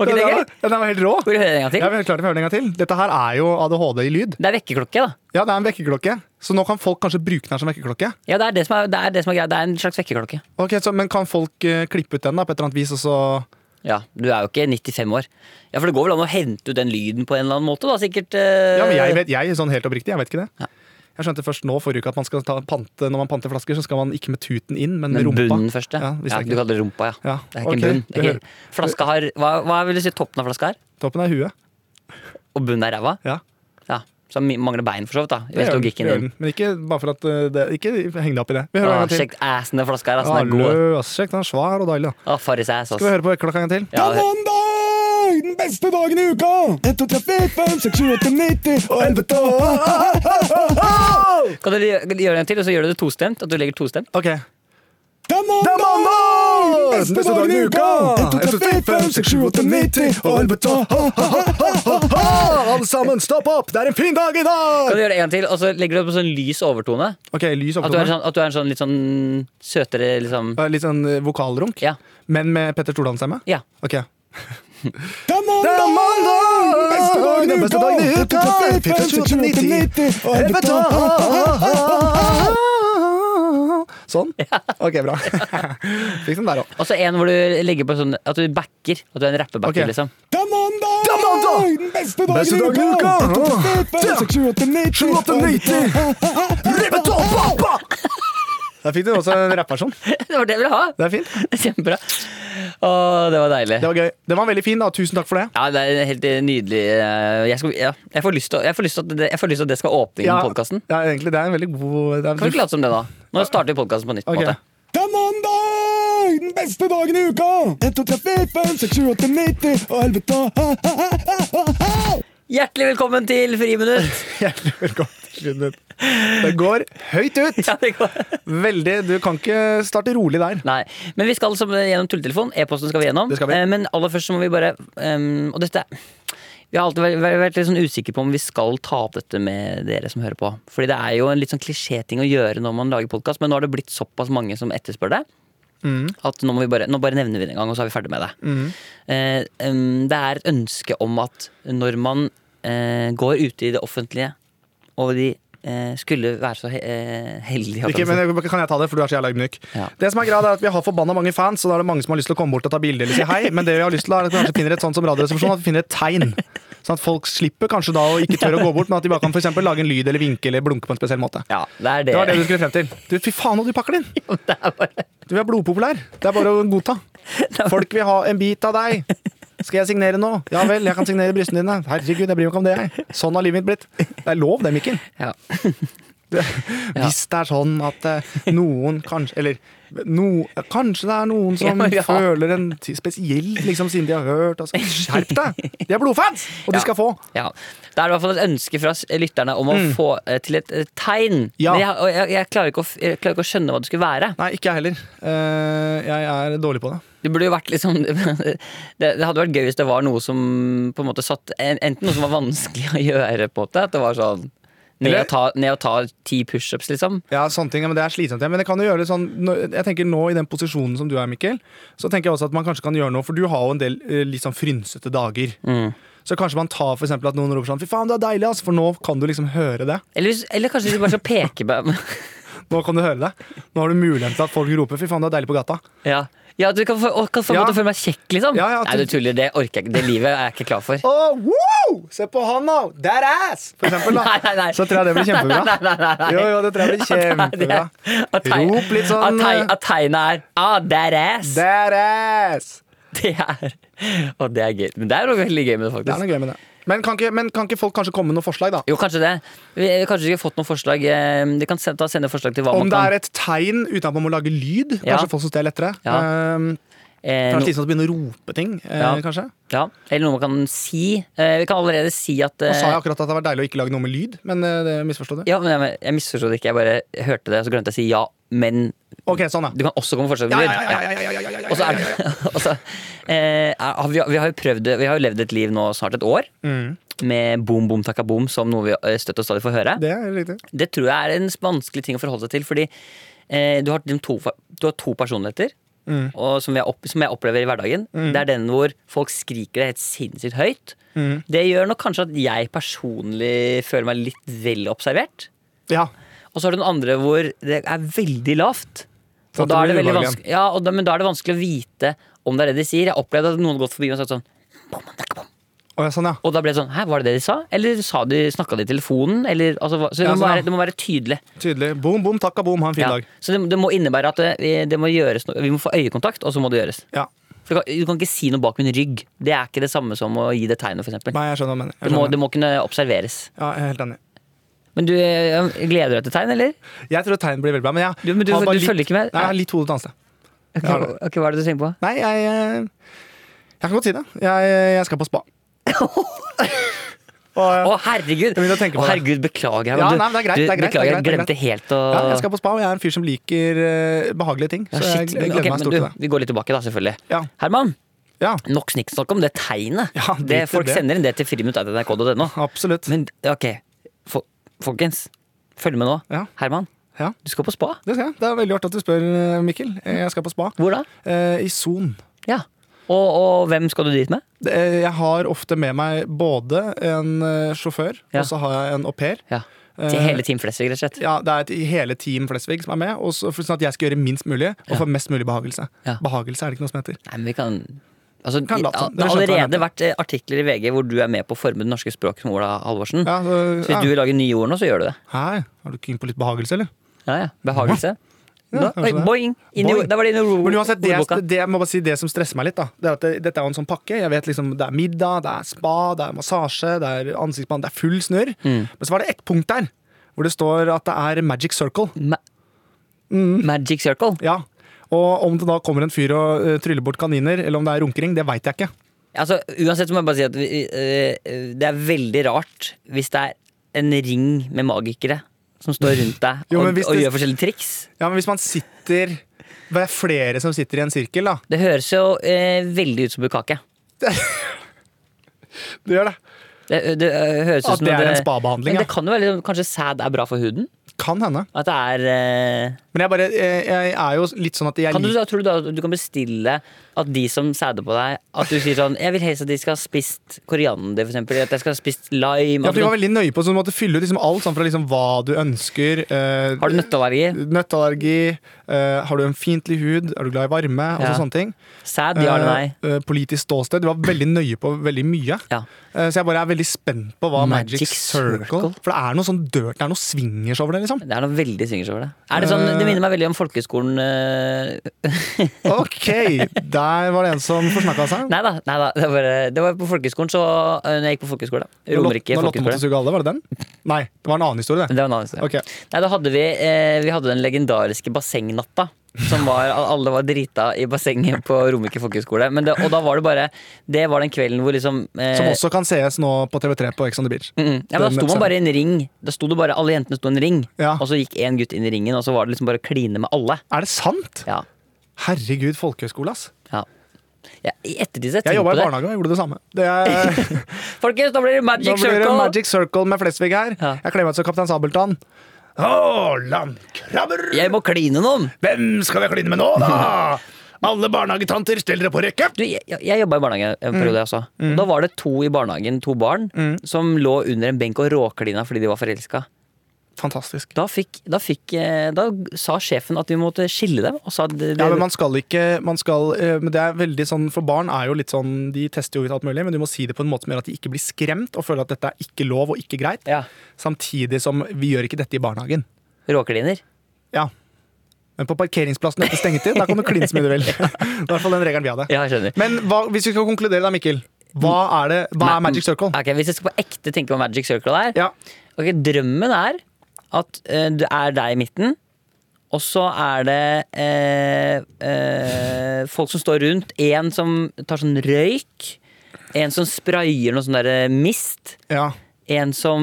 Speaker 3: Var
Speaker 2: Den
Speaker 3: ikke det
Speaker 2: der
Speaker 3: gøy?
Speaker 2: var- den der var helt rå.
Speaker 3: Vil du høre en gang
Speaker 2: Jeg
Speaker 3: til?
Speaker 2: er helt klar til å høre den en gang til. Dette her er jo ADHD i lyd.
Speaker 3: Det er vekkerklokke, da.
Speaker 2: Ja, det er en vekkerklokke. Så nå kan folk kanskje bruke den her som vekkerklokke.
Speaker 3: Ja, det er det som er, det er, det som er greia. Det er en slags vekkerklokke.
Speaker 2: Ok, så, Men kan folk eh, klippe ut den da, på et eller annet vis, og så
Speaker 3: Ja, du er jo ikke 95 år. Ja, For det går vel an å hente ut den lyden på en eller annen måte, da, sikkert. eh,
Speaker 2: Ja, men jeg vet, jeg, sånn helt oppriktig, jeg vet ikke det.
Speaker 3: Ja.
Speaker 2: Jeg skjønte først nå forrige uke at man skal ta pante, når man panter flasker, så skal man ikke med tuten inn, men med
Speaker 3: Men
Speaker 2: rumpa.
Speaker 3: bunnen først, ja.
Speaker 2: Ja, hvis
Speaker 3: ja
Speaker 2: det er
Speaker 3: du
Speaker 2: ikke
Speaker 3: kaller det rumpa, ja.
Speaker 2: Ja,
Speaker 3: Det er ikke
Speaker 2: ok.
Speaker 3: bunn. Det er ikke, flaska har hva, hva vil du si toppen av flaska er?
Speaker 2: Toppen er huet.
Speaker 3: Og bunnen er ræva?
Speaker 2: Ja,
Speaker 3: Ja. Så mi- mangler bein, for så vidt. da
Speaker 2: det
Speaker 3: Hvis
Speaker 2: gjør den,
Speaker 3: logikken
Speaker 2: det gjør
Speaker 3: din.
Speaker 2: den. Men ikke bare for at uh, det, Ikke heng deg opp i det. Vi hører
Speaker 3: Ah,
Speaker 2: en gang til.
Speaker 3: Sjekk assen den flaska er. ass,
Speaker 2: Ja,
Speaker 3: Den er god.
Speaker 2: løs, sjekk, den er svær og deilig. da.
Speaker 3: Ah, Farris ass, ass.
Speaker 2: Skal vi høre på klokka en gang til?
Speaker 4: Det
Speaker 3: Ja,
Speaker 4: er mandag! Den beste dagen i uka! 1, 2, 3, 4, 5, 6, 7, 8, 90 og helvete! Ha, ha, ha, ha, ha.
Speaker 3: kan dere gjøre det en til, og så gjør du det tostemt? At du legger tostemt?
Speaker 2: Ok.
Speaker 4: Det er mandag! Den beste dagen i uka! 1, 2, 3, 4, 5, 6, 7, 8, 90 og helvete! Ha, ha, ha, ha, ha, ha.
Speaker 2: alle sammen, stopp opp! Det er en fin dag i dag!
Speaker 3: Kan du gjøre det en gang til, og så legger du det på sånn lys overtone?
Speaker 2: Ok, lys
Speaker 3: At du er,
Speaker 2: overtone.
Speaker 3: sånn, at du er en sånn litt sånn søtere liksom
Speaker 2: Eh, Litt sånn eh, vokalrunk,
Speaker 3: Ja.
Speaker 2: men med Petter Stordalen stemme?
Speaker 3: ja.
Speaker 2: Ok.
Speaker 4: Det er mandag!
Speaker 2: mandag!
Speaker 4: Beste dagen i uka! 1, 2, 3, 4, 5, 6, 7, 8, 90 og helvete! Ha, ha, ha, ha.
Speaker 2: Sånn? Ok, bra. Fikk den der òg.
Speaker 3: Og så en hvor du legger på sånn at du backer. At du er en rappebacker,
Speaker 2: Ok.
Speaker 3: liksom.
Speaker 4: Det er mandag! Den beste
Speaker 2: Beste
Speaker 4: dagen i
Speaker 2: dagen i
Speaker 4: uka!
Speaker 2: uka!
Speaker 4: 1, 2, 3, 4, 5, 6, 7, 8, 90
Speaker 2: 7, 8, 90.
Speaker 4: Ha, ha, ha, ha.
Speaker 2: Der fikk du også en rappversjon.
Speaker 3: Det var det jeg ville ha!
Speaker 2: Det er fint.
Speaker 3: Kjempebra. Å, det var deilig.
Speaker 2: Det var gøy. Den var veldig fin, da. Tusen takk for det.
Speaker 3: Ja, det er helt nydelig. eh, Jeg, skal, ja, jeg får lyst til å- jeg får lyst til at det- jeg får lyst til at det skal åpne
Speaker 2: Ja,
Speaker 3: innen podkasten.
Speaker 2: ja, egentlig, det er en veldig god det er,
Speaker 3: Kan vi ikke late som det, da? Nå starter vi podkasten på nytt. på en
Speaker 2: Ok.
Speaker 3: måte.
Speaker 4: Det er mandag! Den beste dagen i uka! 1, 2, 3, 4, 5, 6, 7, 8, 90 og helvete! Ha, ha, ha, ha, ha, ha.
Speaker 3: Hjertelig velkommen til Friminutt!
Speaker 2: Hjertelig velkommen til Friminutt. Det går høyt ut!
Speaker 3: Ja, det går.
Speaker 2: Veldig. Du kan ikke starte rolig der.
Speaker 3: Nei, Men vi skal som eh, gjennom tulletelefon. E-posten skal vi gjennom.
Speaker 2: Det skal vi.
Speaker 3: Eh, Men aller først så må vi bare ehm, Og dette Vi har alltid vært, vært litt sånn usikre på om vi skal ta opp dette med dere som hører på. Fordi det er jo en litt sånn klisjéting å gjøre når man lager podkast, men nå har det blitt såpass mange som etterspør det. At nå, må vi bare, nå bare nevner vi det en gang, og så er vi ferdig med det. Eh, em, det er et ønske om at når man eh, går ute i det offentlige, og de eh, skulle være så he eh, heldige at
Speaker 2: Ikke, men jeg- kan jeg ta det, for du er så jævla ydmyk.
Speaker 3: Ja.
Speaker 2: Det som er greit er at Vi har forbanna mange fans, så da er det mange som har lyst til å komme bort og ta bilde eller si hei. Men det vi har lyst til er at vi kanskje finner et sånt som radioresepsjon, at vi finner et tegn. Sånn at folk slipper kanskje da å ikke tørre å gå bort, men at de bare kan for eksempel lage en lyd eller vinke eller blunke på en spesiell måte.
Speaker 3: ja, det er det.
Speaker 2: Det var det du skulle frem til. Du, fy faen, og du pakker det inn! Du er blodpopulær. Det er bare å godta. Folk vil ha en bit av deg. Skal jeg signere nå? Ja vel, jeg kan signere brystene dine. Herregud, jeg bryr meg ikke om det, jeg. Sånn har livet mitt blitt. Det er lov, det, Mikkel.
Speaker 3: Ja. Ja.
Speaker 2: Hvis det er sånn at eh, noen kanskje Eller no, kanskje det er noen som
Speaker 3: Ja, ja.
Speaker 2: føler en ti- spesiell liksom, siden de har hørt altså. Skjerp deg! De er blodfans! Og
Speaker 3: Ja.
Speaker 2: de skal få.
Speaker 3: Ja. Det er i hvert fall et ønske fra s- lytterne om å få eh, til et eh, tegn.
Speaker 2: Mm. Ja.
Speaker 3: Men jeg, og jeg, jeg, klarer ikke å, f- jeg klarer ikke å skjønne hva det skulle være.
Speaker 2: Nei, ikke jeg heller. Eh, jeg er dårlig på det.
Speaker 3: Det burde jo vært liksom det, det hadde vært gøy hvis det var noe som på en måte satt en- Enten noe som var vanskelig å gjøre, på en måte. At det var sånn Ned
Speaker 2: Eller-
Speaker 3: og ta, ned og ta ti pushups, liksom.
Speaker 2: Ja, sånne ting, ja, men Det er slitsomt. ja. Men jeg kan jo gjøre det sånn nå- Jeg tenker nå i den posisjonen som du er, Mikkel, så tenker jeg også at man kanskje kan gjøre noe, for du har jo en del eh, litt sånn frynsete dager.
Speaker 3: Mm.
Speaker 2: Så kanskje man tar for eksempel at noen roper sånn 'fy faen, du er deilig', ass, for nå kan du liksom høre det.
Speaker 3: Eller, hvis- eller kanskje hvis du bare skal peke på
Speaker 2: Nå kan du høre det. Nå har du muligheten til at folk roper 'fy faen, du er deilig på gata'.
Speaker 3: ja. Ja, at du kan få, å, kan få
Speaker 2: Ja.
Speaker 3: måtte føle meg kjekk, liksom.
Speaker 2: Ja, ja, at
Speaker 3: Nei,
Speaker 2: du-
Speaker 3: du tuller. Det orker jeg ikke. Det livet er jeg ikke klar for.
Speaker 2: Å, wow! Se på han nå! That ass! For eksempel, da.
Speaker 3: Nei, nei, nei.
Speaker 2: Så tror jeg det blir kjempebra. Jo, jo, det tror jeg blir kjempebra.
Speaker 3: At teg-
Speaker 2: Rop litt sånn,
Speaker 3: At, teg, at tegnet er Ah, that ass! Det,
Speaker 2: That ass!
Speaker 3: er Og det er gøy. Men det er noe veldig gøy med det,
Speaker 2: Det er
Speaker 3: faktisk.
Speaker 2: noe gøy med det. Men kan, ikke, men kan ikke folk kanskje komme med noen forslag, da?
Speaker 3: Jo, kanskje det. Vi, kanskje vi har fått noen forslag. eh, De kan sende, ta, sende forslag til hva
Speaker 2: Om
Speaker 3: man
Speaker 2: det
Speaker 3: kan
Speaker 2: er et tegn uten at man må lage lyd. Kanskje
Speaker 3: Ja.
Speaker 2: folk syns det er lettere.
Speaker 3: Ja.
Speaker 2: Ehm,
Speaker 3: eh, no-
Speaker 2: kanskje de som begynner å rope ting, eh,
Speaker 3: Ja.
Speaker 2: kanskje.
Speaker 3: ja. Eller noe man kan si. Eh, Vi kan allerede si at
Speaker 2: Nå sa
Speaker 3: eh,
Speaker 2: jeg akkurat at det var deilig å ikke lage noe med lyd, men eh, det misforstod du.
Speaker 3: ja, men jeg, jeg misforsto det ikke. Jeg bare hørte det, og så glemte jeg å si ja. Men
Speaker 2: Ok, sånn, ja.
Speaker 3: du kan også komme med forslag.
Speaker 2: Ja,
Speaker 3: til
Speaker 2: ja, ja, ja,
Speaker 3: lyd.
Speaker 2: ja, ja, ja, ja, ja,
Speaker 3: Og så er
Speaker 2: ja, ja, ja.
Speaker 3: det og så, eh, er- vi, har- vi har jo prøvd det- Vi har jo levd et liv nå snart et år
Speaker 2: Mm.
Speaker 3: med boom, boom, takka, boom som noe vi eh, støtt og stadig får høre. Det,
Speaker 2: Det er riktig.
Speaker 3: tror jeg er en vanskelig ting å forholde seg til, fordi eh, du, har, liksom to, fa- du har to personligheter.
Speaker 2: Mm.
Speaker 3: Og som, jeg opp, som jeg opplever i hverdagen. Det er den hvor folk skriker det helt sinnssykt høyt.
Speaker 2: Mm.
Speaker 3: Det gjør nok kanskje at jeg personlig føler meg litt vel observert.
Speaker 2: Ja.
Speaker 3: Og så har du den andre hvor det er veldig lavt.
Speaker 2: Så
Speaker 3: Og
Speaker 2: at
Speaker 3: da
Speaker 2: det
Speaker 3: er
Speaker 2: blir
Speaker 3: det veldig
Speaker 2: ubehagelig.
Speaker 3: vanskelig, ja, og da, men da er det vanskelig å vite om det er det de sier. Jeg opplevde at noen hadde gått forbi og sagt sånn «Bom, bom, takk, bom».
Speaker 2: Å, ja, sånn, ja.
Speaker 3: Og da ble det sånn Hæ, var det det de sa? Eller sa de, snakka de i telefonen? Eller, altså, hva- så det,
Speaker 2: Ja,
Speaker 3: må
Speaker 2: sånn, ja.
Speaker 3: være, det må være tydelig.
Speaker 2: Tydelig. Boom, boom, takka boom, ha en fin
Speaker 3: Ja.
Speaker 2: dag.
Speaker 3: Så det, det må innebære at det, det må gjøres noe. Vi må få øyekontakt, og så må det gjøres.
Speaker 2: Ja.
Speaker 3: For du kan, du kan ikke si noe bak min rygg. Det er ikke det samme som å gi det tegnet, f.eks.
Speaker 2: Nei, jeg skjønner hva du mener. Jeg
Speaker 3: Det, må-
Speaker 2: skjønner.
Speaker 3: det må kunne observeres.
Speaker 2: Ja, jeg er helt enig.
Speaker 3: Men du eh, gleder du deg til tegn, eller?
Speaker 2: Jeg tror tegn blir veldig bra, men jeg
Speaker 3: Du- men du-
Speaker 2: har bare
Speaker 3: du
Speaker 2: litt-
Speaker 3: følger ikke med?
Speaker 2: Nei, jeg har litt hodet et annet sted.
Speaker 3: Ok,
Speaker 2: Ja, det-
Speaker 3: ok, Hva er det du tenker på?
Speaker 2: Nei, jeg eh, Jeg kan godt si det. Jeg, jeg skal på spa. Og, eh,
Speaker 3: Å, herregud!
Speaker 2: begynner å tenke på
Speaker 3: Å,
Speaker 2: det.
Speaker 3: herregud, beklager.
Speaker 2: Ja,
Speaker 3: men du,
Speaker 2: nei, men det er greit,
Speaker 3: du,
Speaker 2: det er greit, det er greit,
Speaker 3: beklager,
Speaker 2: det er
Speaker 3: jeg glemte helt å
Speaker 2: ja, jeg skal på spa, og jeg er en fyr som liker eh, behagelige ting.
Speaker 3: Ja,
Speaker 2: Så jeg,
Speaker 3: shit.
Speaker 2: jeg gleder
Speaker 3: Ok,
Speaker 2: meg
Speaker 3: men
Speaker 2: stort
Speaker 3: du,
Speaker 2: til det.
Speaker 3: Vi går litt tilbake, da, selvfølgelig.
Speaker 2: Ja.
Speaker 3: Herman,
Speaker 2: Ja,
Speaker 3: nok snikksnakk om det tegnet.
Speaker 2: Ja,
Speaker 3: det,
Speaker 2: drit i
Speaker 3: folk
Speaker 2: det.
Speaker 3: sender inn det til friminutt.nrk.no.
Speaker 2: absolutt.
Speaker 3: Men ok, fo- folkens. Følg med nå.
Speaker 2: Ja.
Speaker 3: Herman,
Speaker 2: Ja.
Speaker 3: du skal på spa.
Speaker 2: Det skal jeg. Det er veldig artig at du spør, eh, Mikkel. Eh, Jeg skal på spa.
Speaker 3: Hvor da?
Speaker 2: Eh, I Son.
Speaker 3: Ja. Og, og hvem skal du dit med?
Speaker 2: Det- eh, Jeg har ofte med meg både en eh, sjåfør,
Speaker 3: Ja.
Speaker 2: og så har jeg en au pair.
Speaker 3: Ja. Til
Speaker 2: Eh,
Speaker 3: hele Team Flesvig, rett og slett.
Speaker 2: Ja, det er et, hele Team Flesvig som er med, og så, for sånn at jeg skal gjøre minst mulig og få mest mulig behagelse.
Speaker 3: Ja.
Speaker 2: Behagelse er det ikke noe som heter.
Speaker 3: Nei, men vi kan... Altså,
Speaker 2: Kan
Speaker 3: i-
Speaker 2: late som.
Speaker 3: Det
Speaker 2: Dere
Speaker 3: har
Speaker 2: skjønte hva jeg
Speaker 3: allerede vært eh, artikler i VG hvor du er med på å forme det norske språket som Ola Halvorsen.
Speaker 2: Ja, så,
Speaker 3: Så hvis du
Speaker 2: ja.
Speaker 3: vil lage nye ord nå, så gjør du det.
Speaker 2: Hei, har du keen på litt behagelse, eller?
Speaker 3: Ja, ja. Behagelse. Da,
Speaker 2: kanskje
Speaker 3: oi,
Speaker 2: det.
Speaker 3: boing! Inn i,
Speaker 2: Boing.
Speaker 3: da var det inn i ord-
Speaker 2: Men uansett, det,
Speaker 3: ordboka.
Speaker 2: jeg- det, jeg må bare si, det som stresser meg litt, da, det er at det, dette er jo en sånn pakke. Jeg vet liksom, Det er middag, det er spa, det er massasje, det er ansiktsbehandling, det er full snørr.
Speaker 3: Mm.
Speaker 2: Men så var det ett punkt der hvor det står at det er magic circle.
Speaker 3: Ma
Speaker 2: Mm.
Speaker 3: Magic Circle.
Speaker 2: Ja. Og om det da kommer en fyr og eh, tryller bort kaniner, eller om det er runkering, det veit jeg ikke.
Speaker 3: Altså, uansett så må jeg bare si at vi, eh, eh, det er veldig rart hvis det er en ring med magikere som står rundt deg
Speaker 2: Jo, men
Speaker 3: og,
Speaker 2: hvis
Speaker 3: og
Speaker 2: det-
Speaker 3: gjør forskjellige triks.
Speaker 2: Ja, Men hvis man sitter Det er flere som sitter i en sirkel, da.
Speaker 3: Det høres jo eh, veldig ut som bukkake.
Speaker 2: Det gjør det.
Speaker 3: Det, det eh, høres ut
Speaker 2: At
Speaker 3: som
Speaker 2: det
Speaker 3: noe-
Speaker 2: er en spabehandling, ja.
Speaker 3: Men det kan jo være litt- Kanskje sæd er bra for huden?
Speaker 2: Kan hende.
Speaker 3: At det er eh,
Speaker 2: Men jeg, bare, jeg, jeg er jo litt sånn at jeg
Speaker 3: kan du,
Speaker 2: liker
Speaker 3: da- Tror du da at du kan bestille at de som sæder på deg, at du sier sånn Jeg vil helst at de skal ha spist koriander, for eksempel. At jeg skal ha spist lime.
Speaker 2: ja,
Speaker 3: at
Speaker 2: for Du
Speaker 3: du
Speaker 2: var veldig nøye på så du måtte fylle ut liksom alt sånn fra liksom hva du ønsker. eh,
Speaker 3: har du nøtteallergi?
Speaker 2: Nøtteallergi. eh, har du en fiendtlig hud? Er du glad i varme? Altså
Speaker 3: Ja.
Speaker 2: sånne ting.
Speaker 3: Sæd? Ja eller nei?
Speaker 2: Eh, eh, politisk ståsted. Du var veldig nøye på veldig mye.
Speaker 3: Ja.
Speaker 2: Eh, så jeg bare er veldig spent på hva Magic,
Speaker 3: Magic
Speaker 2: Circle,
Speaker 3: Circle?
Speaker 2: For det er noe sånn dirt, det er noe swingers over det, liksom.
Speaker 3: Det er noe veldig swingers over det. Er det, sånn, det minner meg veldig om folkehøyskolen eh,
Speaker 2: Ok, der var det en som forsnakka seg.
Speaker 3: Nei da, nei da. Det, var, det var på folkehøyskolen, så eh, Når jeg gikk på folkehøyskole. Romerike
Speaker 2: Når Lotte måtte
Speaker 3: folkehøgskole.
Speaker 2: suge alle, var det den? Nei, det var en annen historie,
Speaker 3: Men
Speaker 2: det.
Speaker 3: Det var en annen historie.
Speaker 2: Ok.
Speaker 3: Nei, da hadde vi, eh, vi hadde den legendariske bassengnatta. Som var, alle var drita i bassenget på Romerike folkehøgskole. Men det- Og da var det bare Det var den kvelden hvor liksom eh,
Speaker 2: Som også kan sees nå på TV3 på Ex on the Beach.
Speaker 3: Mm.
Speaker 2: Den
Speaker 3: Ja, men da sto man
Speaker 2: episoden.
Speaker 3: bare i en ring. Da sto det bare, Alle jentene sto i en ring,
Speaker 2: Ja.
Speaker 3: og så gikk én gutt inn i ringen, og så var det liksom bare å kline med alle.
Speaker 2: Er det sant?
Speaker 3: Ja,
Speaker 2: Herregud, folkehøyskole, ass.
Speaker 3: ja. ja I ettertid så har jeg
Speaker 2: Jeg
Speaker 3: tenkt
Speaker 2: jobba i
Speaker 3: på det.
Speaker 2: barnehage og gjorde det samme. Det er,
Speaker 3: Folkens, nå blir det Magic
Speaker 2: nå blir det
Speaker 3: Circle!
Speaker 2: Magic Circle med Flesvig her.
Speaker 3: Ja.
Speaker 2: Jeg kler meg ut som Kaptein Sabeltann. Å, landkrabber!
Speaker 3: Jeg må kline noen!
Speaker 2: Hvem skal jeg kline med nå, da? Alle barnehagetanter, stell dere på rekke!
Speaker 3: Du, jeg jeg jobba i barnehage en
Speaker 2: Mm.
Speaker 3: periode, altså. Da var det to i barnehagen, to barn, som lå under en benk og råklina fordi de var forelska.
Speaker 2: Fantastisk.
Speaker 3: Da, fikk, da, fikk, eh, da sa sjefen at vi måtte skille dem. Og sa at det, det,
Speaker 2: Ja, men man skal ikke man skal, eh, men det er veldig sånn, For barn er jo litt sånn De tester jo ut alt mulig, men du må si det på en måte som gjør at de ikke blir skremt og føler at dette er ikke lov og ikke greit.
Speaker 3: ja,
Speaker 2: Samtidig som vi gjør ikke dette i barnehagen.
Speaker 3: Råkliner.
Speaker 2: Ja. Men på parkeringsplassen etter stengetid, da kan du kline så mye du vil. Det er i hvert fall den regelen vi hadde.
Speaker 3: Ja, jeg skjønner.
Speaker 2: Men hva, hvis vi skal konkludere da, Mikkel. Hva
Speaker 3: Mm.
Speaker 2: er, det, hva er Magic Circle?
Speaker 3: Ok, hvis jeg skal på ekte tenke på Magic Circle der
Speaker 2: Ja.
Speaker 3: Ok, Drømmen er at eh, det er deg i midten, og så er det eh, eh, folk som står rundt. En som tar sånn røyk. En som sprayer noe sånn der eh, mist.
Speaker 2: ja.
Speaker 3: En som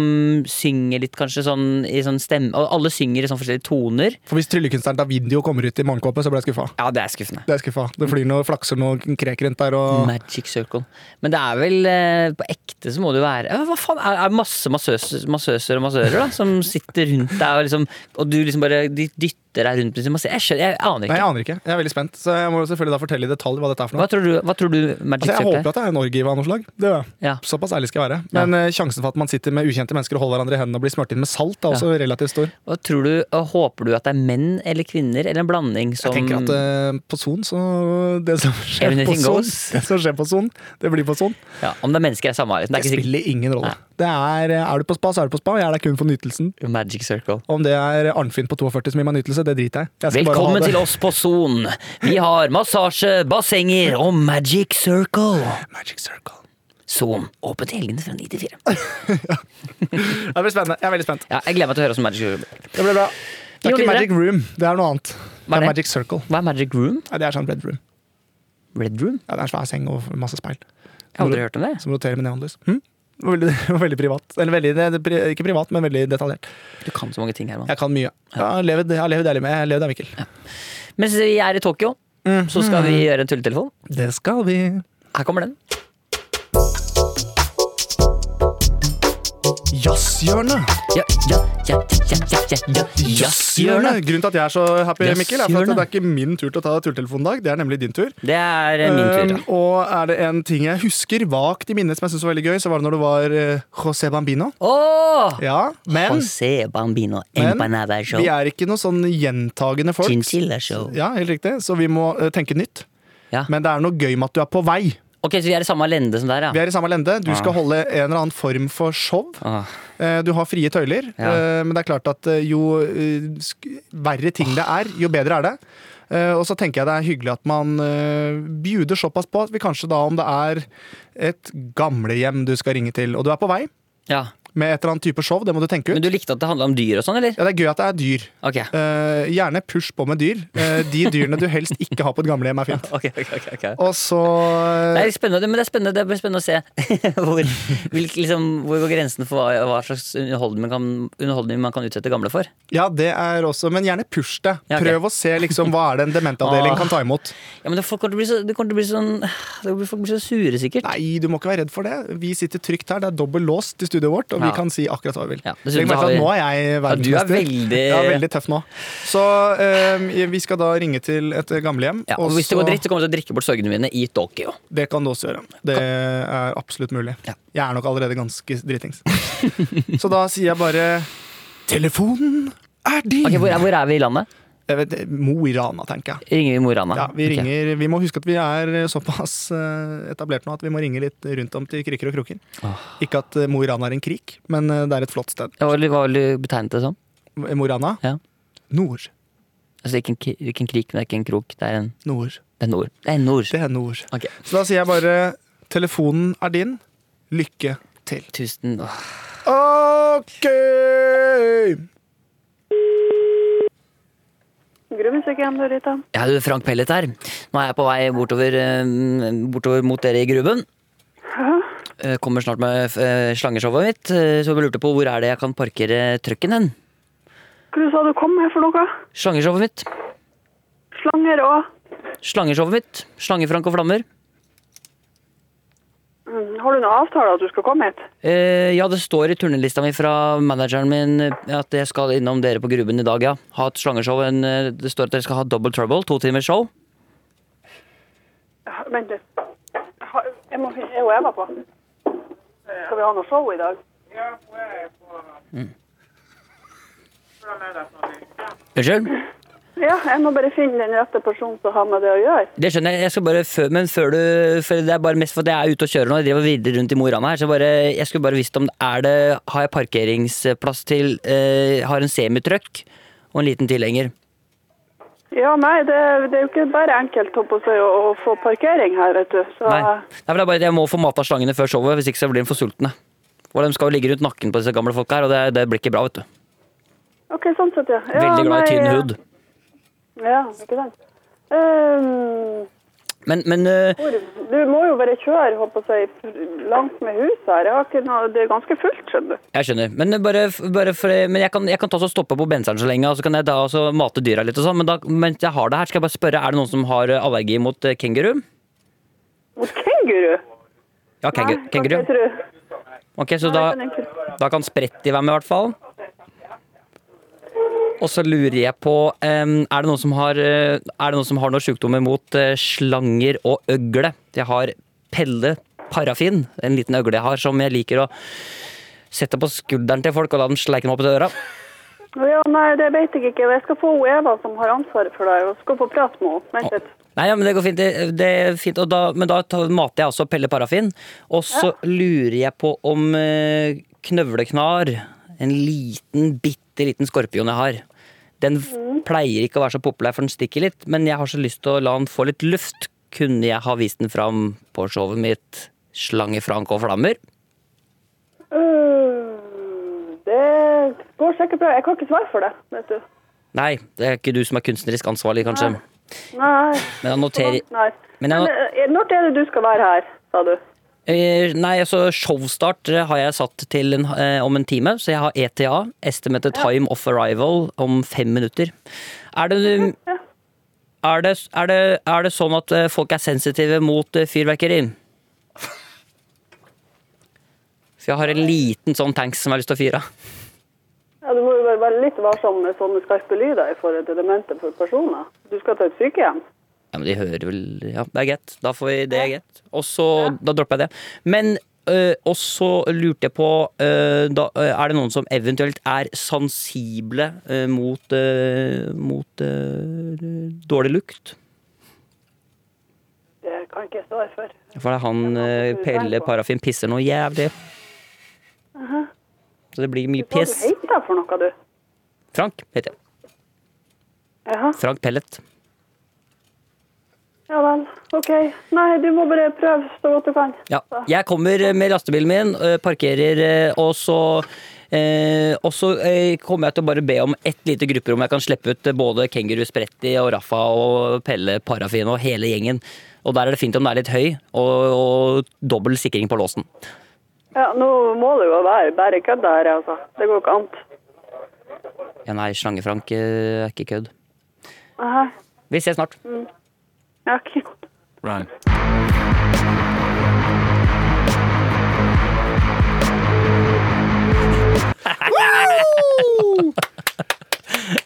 Speaker 3: synger litt, kanskje, sånn i sånn stemme Og alle synger i sånn forskjellige toner.
Speaker 2: For hvis tryllekunstneren Davidio kommer ut i morgenkåpe, så blir jeg skuffa.
Speaker 3: Ja, det er skuffende.
Speaker 2: Det er skuffa. Det flyr noe flakser noe krek rundt der og
Speaker 3: Magic Circle. Men det er vel eh, på ekte så må det jo være ja, men Hva faen, er, er masse massøser, massøser og massører da som sitter rundt deg og liksom Og du liksom bare de dytter deg rundt liksom og ser Jeg skjønner, jeg
Speaker 2: Nei,
Speaker 3: aner ikke.
Speaker 2: jeg aner ikke. Jeg er veldig spent. Så jeg må jo selvfølgelig da fortelle i detalj hva dette er for
Speaker 3: Hva
Speaker 2: noe.
Speaker 3: tror du, hva tror du Magic
Speaker 2: Altså, jeg
Speaker 3: Circle
Speaker 2: håper at det er en orgie av noe slag. Det gjør jeg.
Speaker 3: er? Ja.
Speaker 2: Såpass ærlig skal jeg være. Men eh, sjansen for at man sitter med ukjente mennesker og holder hverandre i hendene og blir smurt inn med salt, er også relativt stor.
Speaker 3: Hva tror du, og håper du at det er menn eller kvinner eller en blanding som
Speaker 2: Jeg tenker at eh, på Son, så Det som skjer på
Speaker 3: Everything
Speaker 2: Son,
Speaker 3: goes.
Speaker 2: det som skjer på Son, det blir på Son.
Speaker 3: ja, Om det er mennesker, er samme. liksom.
Speaker 2: Det
Speaker 3: Det er ikke
Speaker 2: spiller ingen rolle.
Speaker 3: Nei.
Speaker 2: Det er, eh, er du på spa, så er du på spa. Jeg er der kun for nytelsen.
Speaker 3: sikkert Magic Circle.
Speaker 2: Om det er Arnfinn på 42 som gir meg nytelse, det driter jeg i. Jeg skal bare ha
Speaker 3: Velkommen
Speaker 2: det.
Speaker 3: til oss på Son. Vi har massasje, bassenger og Magic Circle.
Speaker 2: Magic Circle.
Speaker 3: Son. Åpent i helgene fra 9 til 4.
Speaker 2: Ja, Det blir spennende. Jeg er veldig spent.
Speaker 3: Ja, jeg gleder meg til å høre om Magic Circle.
Speaker 2: Det blir bra. Det er
Speaker 3: Vi
Speaker 2: ikke
Speaker 3: går videre.
Speaker 2: Magic Room, det er noe annet.
Speaker 3: Hva
Speaker 2: Det
Speaker 3: er
Speaker 2: er
Speaker 3: det?
Speaker 2: Magic Circle.
Speaker 3: Hva er Magic Room?
Speaker 2: Nei, det er sånn Red Room.
Speaker 3: Red Room?
Speaker 2: Ja, det er en svær seng og masse speil
Speaker 3: Jeg har aldri hørt om det.
Speaker 2: som roterer med neonlys. Hm? Det var Veldig, det var veldig privat. Eller veldig, det- det, pri- ikke privat, men veldig detaljert.
Speaker 3: Du kan så mange ting, Herman.
Speaker 2: Jeg kan mye. Jeg har levd jeg har levd ærlig med jeg har levd av Mikkel.
Speaker 3: Mens vi er i Tokyo, så skal vi gjøre en tulletelefon.
Speaker 2: Det skal vi.
Speaker 3: Her kommer den.
Speaker 2: Jazzhjørnet!
Speaker 3: Ja, ja, ja, ja, ja, ja, ja,
Speaker 2: Jazzhjørnet!
Speaker 3: Jazzhjørnet.
Speaker 2: Grunnen til at jeg er så happy, Mikkel, er for at
Speaker 3: Jazzhjørnet.
Speaker 2: det er ikke min tur til å ta tulltelefonen i dag. Det er nemlig din tur.
Speaker 3: Det er eh, min tur.
Speaker 2: Um, og er det en ting jeg husker vagt i minnet som jeg synes var veldig gøy, så var det når det var eh, José Bambino.
Speaker 3: da. Åh!
Speaker 2: Ja, men
Speaker 3: José Bambino
Speaker 2: Men
Speaker 3: Empanada Show.
Speaker 2: vi er ikke noe sånn gjentagende folk.
Speaker 3: Chinchilla Show.
Speaker 2: Ja, helt riktig. Så vi må eh, tenke nytt.
Speaker 3: Ja.
Speaker 2: Men det er noe gøy med at du er på vei.
Speaker 3: Ok, så vi er i samme lende som der,
Speaker 2: Vi
Speaker 3: ja.
Speaker 2: er i samme lende. Du skal holde en eller annen form for show.
Speaker 3: Åh.
Speaker 2: Eh, Du har frie tøyler.
Speaker 3: Ja.
Speaker 2: Eh, Men det er klart at eh, jo eh, sk- verre ting det er, jo bedre er det. Eh, Og så tenker jeg det er hyggelig at man eh, bjuder såpass på at vi kanskje da om det er et gamlehjem du skal ringe til, og du er på vei
Speaker 3: ja.
Speaker 2: med et eller annet type show, det må du tenke
Speaker 3: Men
Speaker 2: ut.
Speaker 3: du likte at det handla om dyr og sånn, eller?
Speaker 2: Ja, det er gøy at det er dyr.
Speaker 3: Ok.
Speaker 2: Eh, gjerne push på med dyr. Eh, de dyrene du helst ikke har på et gamlehjem, er fint.
Speaker 3: Ok, ok, ok, ok.
Speaker 2: Og eh, så
Speaker 3: Det er litt spennende, men det er spennende, det blir spennende å se hvor, hvilk- liksom, hvor går grensen for hva, hva slags underholdning man, kan, underholdning man kan utsette gamle for.
Speaker 2: Ja, det er også Men gjerne push det.
Speaker 3: Ja, ok.
Speaker 2: Prøv å se liksom hva er det en dementavdeling kan ta imot.
Speaker 3: Ja, men det, folk kommer til å bli så, det kommer til å bli sånn det kommer til å bli- Folk blir så sure, sikkert.
Speaker 2: Nei, du må ikke være redd for det. Vi sitter trygt her. Det er dobbel låst i studioet vårt, og vi
Speaker 3: Ja.
Speaker 2: kan si akkurat hva vi vil.
Speaker 3: Ja, dessuten
Speaker 2: Legg
Speaker 3: så
Speaker 2: merke
Speaker 3: har
Speaker 2: til at
Speaker 3: vi-
Speaker 2: nå er jeg
Speaker 3: Ja,
Speaker 2: verdensmester.
Speaker 3: du er veldig-
Speaker 2: Ja, veldig tøff nå. Så eh, vi skal da ringe til et gamlehjem.
Speaker 3: Ja, og hvis det går dritt, så kommer jeg til å drikke bort sorgene mine i Tokyo.
Speaker 2: Det kan du også gjøre. Det er absolutt mulig.
Speaker 3: Ja.
Speaker 2: Jeg er nok allerede ganske dritings. så da sier jeg bare Telefonen er din!
Speaker 3: Ok, hvor er, hvor er vi i landet?
Speaker 2: Jeg vet, Mo i Rana, tenker jeg.
Speaker 3: Ringer vi Mo i Rana?
Speaker 2: Ja, vi,
Speaker 3: Ok.
Speaker 2: ringer, vi må huske at vi er såpass eh, etablert nå at vi må ringe litt rundt om til kriker og kroker. Ikke at eh, Mo i Rana er en krik, men eh, det er et flott sted. Eh,
Speaker 3: Ja, Hva vil hva vil du betegne det som?
Speaker 2: Mo i Rana?
Speaker 3: Ja.
Speaker 2: Nord.
Speaker 3: Altså, ikke en, ki- ikke en krik, men det er ikke en krok. Det er en,
Speaker 2: Nord.
Speaker 3: det er nord. Det er en nord.
Speaker 2: Det er nord.
Speaker 3: Ok.
Speaker 2: Så da sier jeg bare telefonen er din. Lykke til.
Speaker 3: Tusen åh.
Speaker 2: OK!
Speaker 5: Gruvmusikken, Dorita.
Speaker 3: Ja, du, Frank Pellet her. Nå er jeg på vei bortover, eh, bortover mot dere i gruben. Eh, Kommer snart med eh, slangeshowet mitt, eh, så jeg lurte på hvor er det jeg kan parkere trucken hen?
Speaker 5: Hva du sa du kom med for noe?
Speaker 3: Slangeshowet mitt.
Speaker 5: Slanger og
Speaker 3: Slangeshowet mitt. Slangefrank og flammer.
Speaker 5: Mm, Har du noen avtale at du skal komme hit?
Speaker 3: Eh, ja, det står i turnelista mi fra manageren min eh, at jeg skal innom dere på Gruben i dag, ja. Ha et slangeshow. En, eh, det står at dere skal ha Double Trouble, to timers show.
Speaker 5: Ja, Vent litt. Ha- Jeg må finne Er hun Eva på? Skal vi ha noe show i dag?
Speaker 3: Unnskyld?
Speaker 5: Ja, jeg må bare finne den rette personen som har med det å gjøre.
Speaker 3: Det skjønner jeg. jeg skal bare fø- men før du for Det er bare mest for at jeg er ute og kjører nå. Jeg driver og virrer rundt i Mo i Rana her. Så bare, jeg skulle bare visst om er det, Har jeg parkeringsplass til eh, Har en semitrøkk og en liten tilhenger.
Speaker 5: Ja, nei, det, det er jo ikke bare enkelt holdt på å, si, å, å få parkering her, vet du. Så
Speaker 3: Nei. Nei, for det er bare at Jeg må få mata slangene før showet, hvis ikke så blir de for sultne. Og de skal jo ligge rundt nakken på disse gamle folka her, og det, det blir ikke bra, vet du.
Speaker 5: OK, sånn sett, ja. ja
Speaker 3: Veldig glad i
Speaker 5: nei,
Speaker 3: tynn
Speaker 5: ja.
Speaker 3: hud.
Speaker 5: Ja, ikke sant. Ehm,
Speaker 3: Men, men eh,
Speaker 5: hvor, du må jo bare kjøre, håper jeg, å si, langt med huset her. Jeg har ikke noe, det er ganske fullt, skjønner du.
Speaker 3: Jeg skjønner. Men, eh, bare, bare for, men jeg kan, jeg kan ta og stoppe på benseren så lenge, og så kan jeg da også mate dyra litt og sånn. Men da, mens jeg har det her, skal jeg bare spørre, er det noen som har allergi mot eh, kenguru?
Speaker 5: Mot kenguru?
Speaker 3: Ja, kengu,
Speaker 5: Nei,
Speaker 3: kenguru.
Speaker 5: hva heter du?
Speaker 3: Ok, så da,
Speaker 5: Nei, jeg kan ikke.
Speaker 3: da kan Spretti være med, i hvert fall. Og så lurer jeg på em, Er det noen som har, eh, er det noen som har noen sjukdommer mot eh, slanger og øgle? Jeg har Pelle Parafin, en liten øgle jeg har, som jeg liker å sette på skulderen til folk og la dem sleike meg opp til øra.
Speaker 5: Ja, nei, det vet jeg ikke. Jeg skal få hun Eva som har ansvaret for deg, og skal få prate med henne. Vent litt.
Speaker 3: Nei, ja, men det går fint. Det, det er fint. Og da, men da tar- mater jeg også Pelle Parafin. Og så lurer jeg på om eh, knøvleknar, en liten, bitte liten skorpion jeg har Den f- pleier ikke å være så populær, for den stikker litt. Men jeg har så lyst til å la den få litt luft. Kunne jeg ha vist den fram på showet mitt Slange, Frank og Flammer?
Speaker 5: Øh, Det går sikkert bra. Jeg kan ikke svare for det, vet du.
Speaker 3: Nei, det er ikke du som er kunstnerisk ansvarlig, kanskje.
Speaker 5: Nei.
Speaker 3: Men jeg noterer
Speaker 5: nei.
Speaker 3: Men jeg-
Speaker 5: Men, eh, når er det du skal være her, sa du?
Speaker 3: Eh, Nei, altså showstart eh, har jeg satt til en, eh, om en time, så jeg har ETA, Estimated Time of Arrival, om fem minutter. Er det, er det, er det, er det sånn at eh, folk er sensitive mot eh, fyrverkeri? For jeg har en liten sånn tanks som jeg har lyst til å fyre av.
Speaker 5: Ja, Du må jo bare være litt varsom med sånne skarpe lyder i forhold til demente for personer. Du skal til et sykehjem.
Speaker 3: Ja, men de hører vel Ja, det er greit. Da får vi det er greit. Og så Da dropper jeg det. Men øh, og så lurte jeg på øh, da, øh, Er det noen som eventuelt er sensible øh, mot øh, Mot øh, dårlig lukt?
Speaker 5: Det kan ikke jeg svare for.
Speaker 3: For det er han øh, Pelle Parafin pisser noe jævlig. Så det blir mye
Speaker 5: Hva du
Speaker 3: piss.
Speaker 5: heter for noe, du?
Speaker 3: Frank heter jeg.
Speaker 5: Jaha.
Speaker 3: Frank Pellet.
Speaker 5: Ja vel. OK. Nei, du må bare prøve så godt du kan.
Speaker 3: Ja. Jeg kommer med lastebilen min, øh, parkerer, øh, og så øh, og så øh, kommer jeg til å bare be om ett lite grupperom jeg kan slippe ut øh, både kenguru Spretti og Raffa og Pelle Parafin og hele gjengen. Og der er det fint om det er litt høy, og, og dobbel sikring på låsen.
Speaker 5: Ja, nå må det jo være bare kødd her, altså. Det går ikke an.
Speaker 3: Ja, nei, Slange-Frank øh, er ikke kødd.
Speaker 5: Aha.
Speaker 3: Vi ses snart.
Speaker 2: Mm.
Speaker 5: Ja, ok.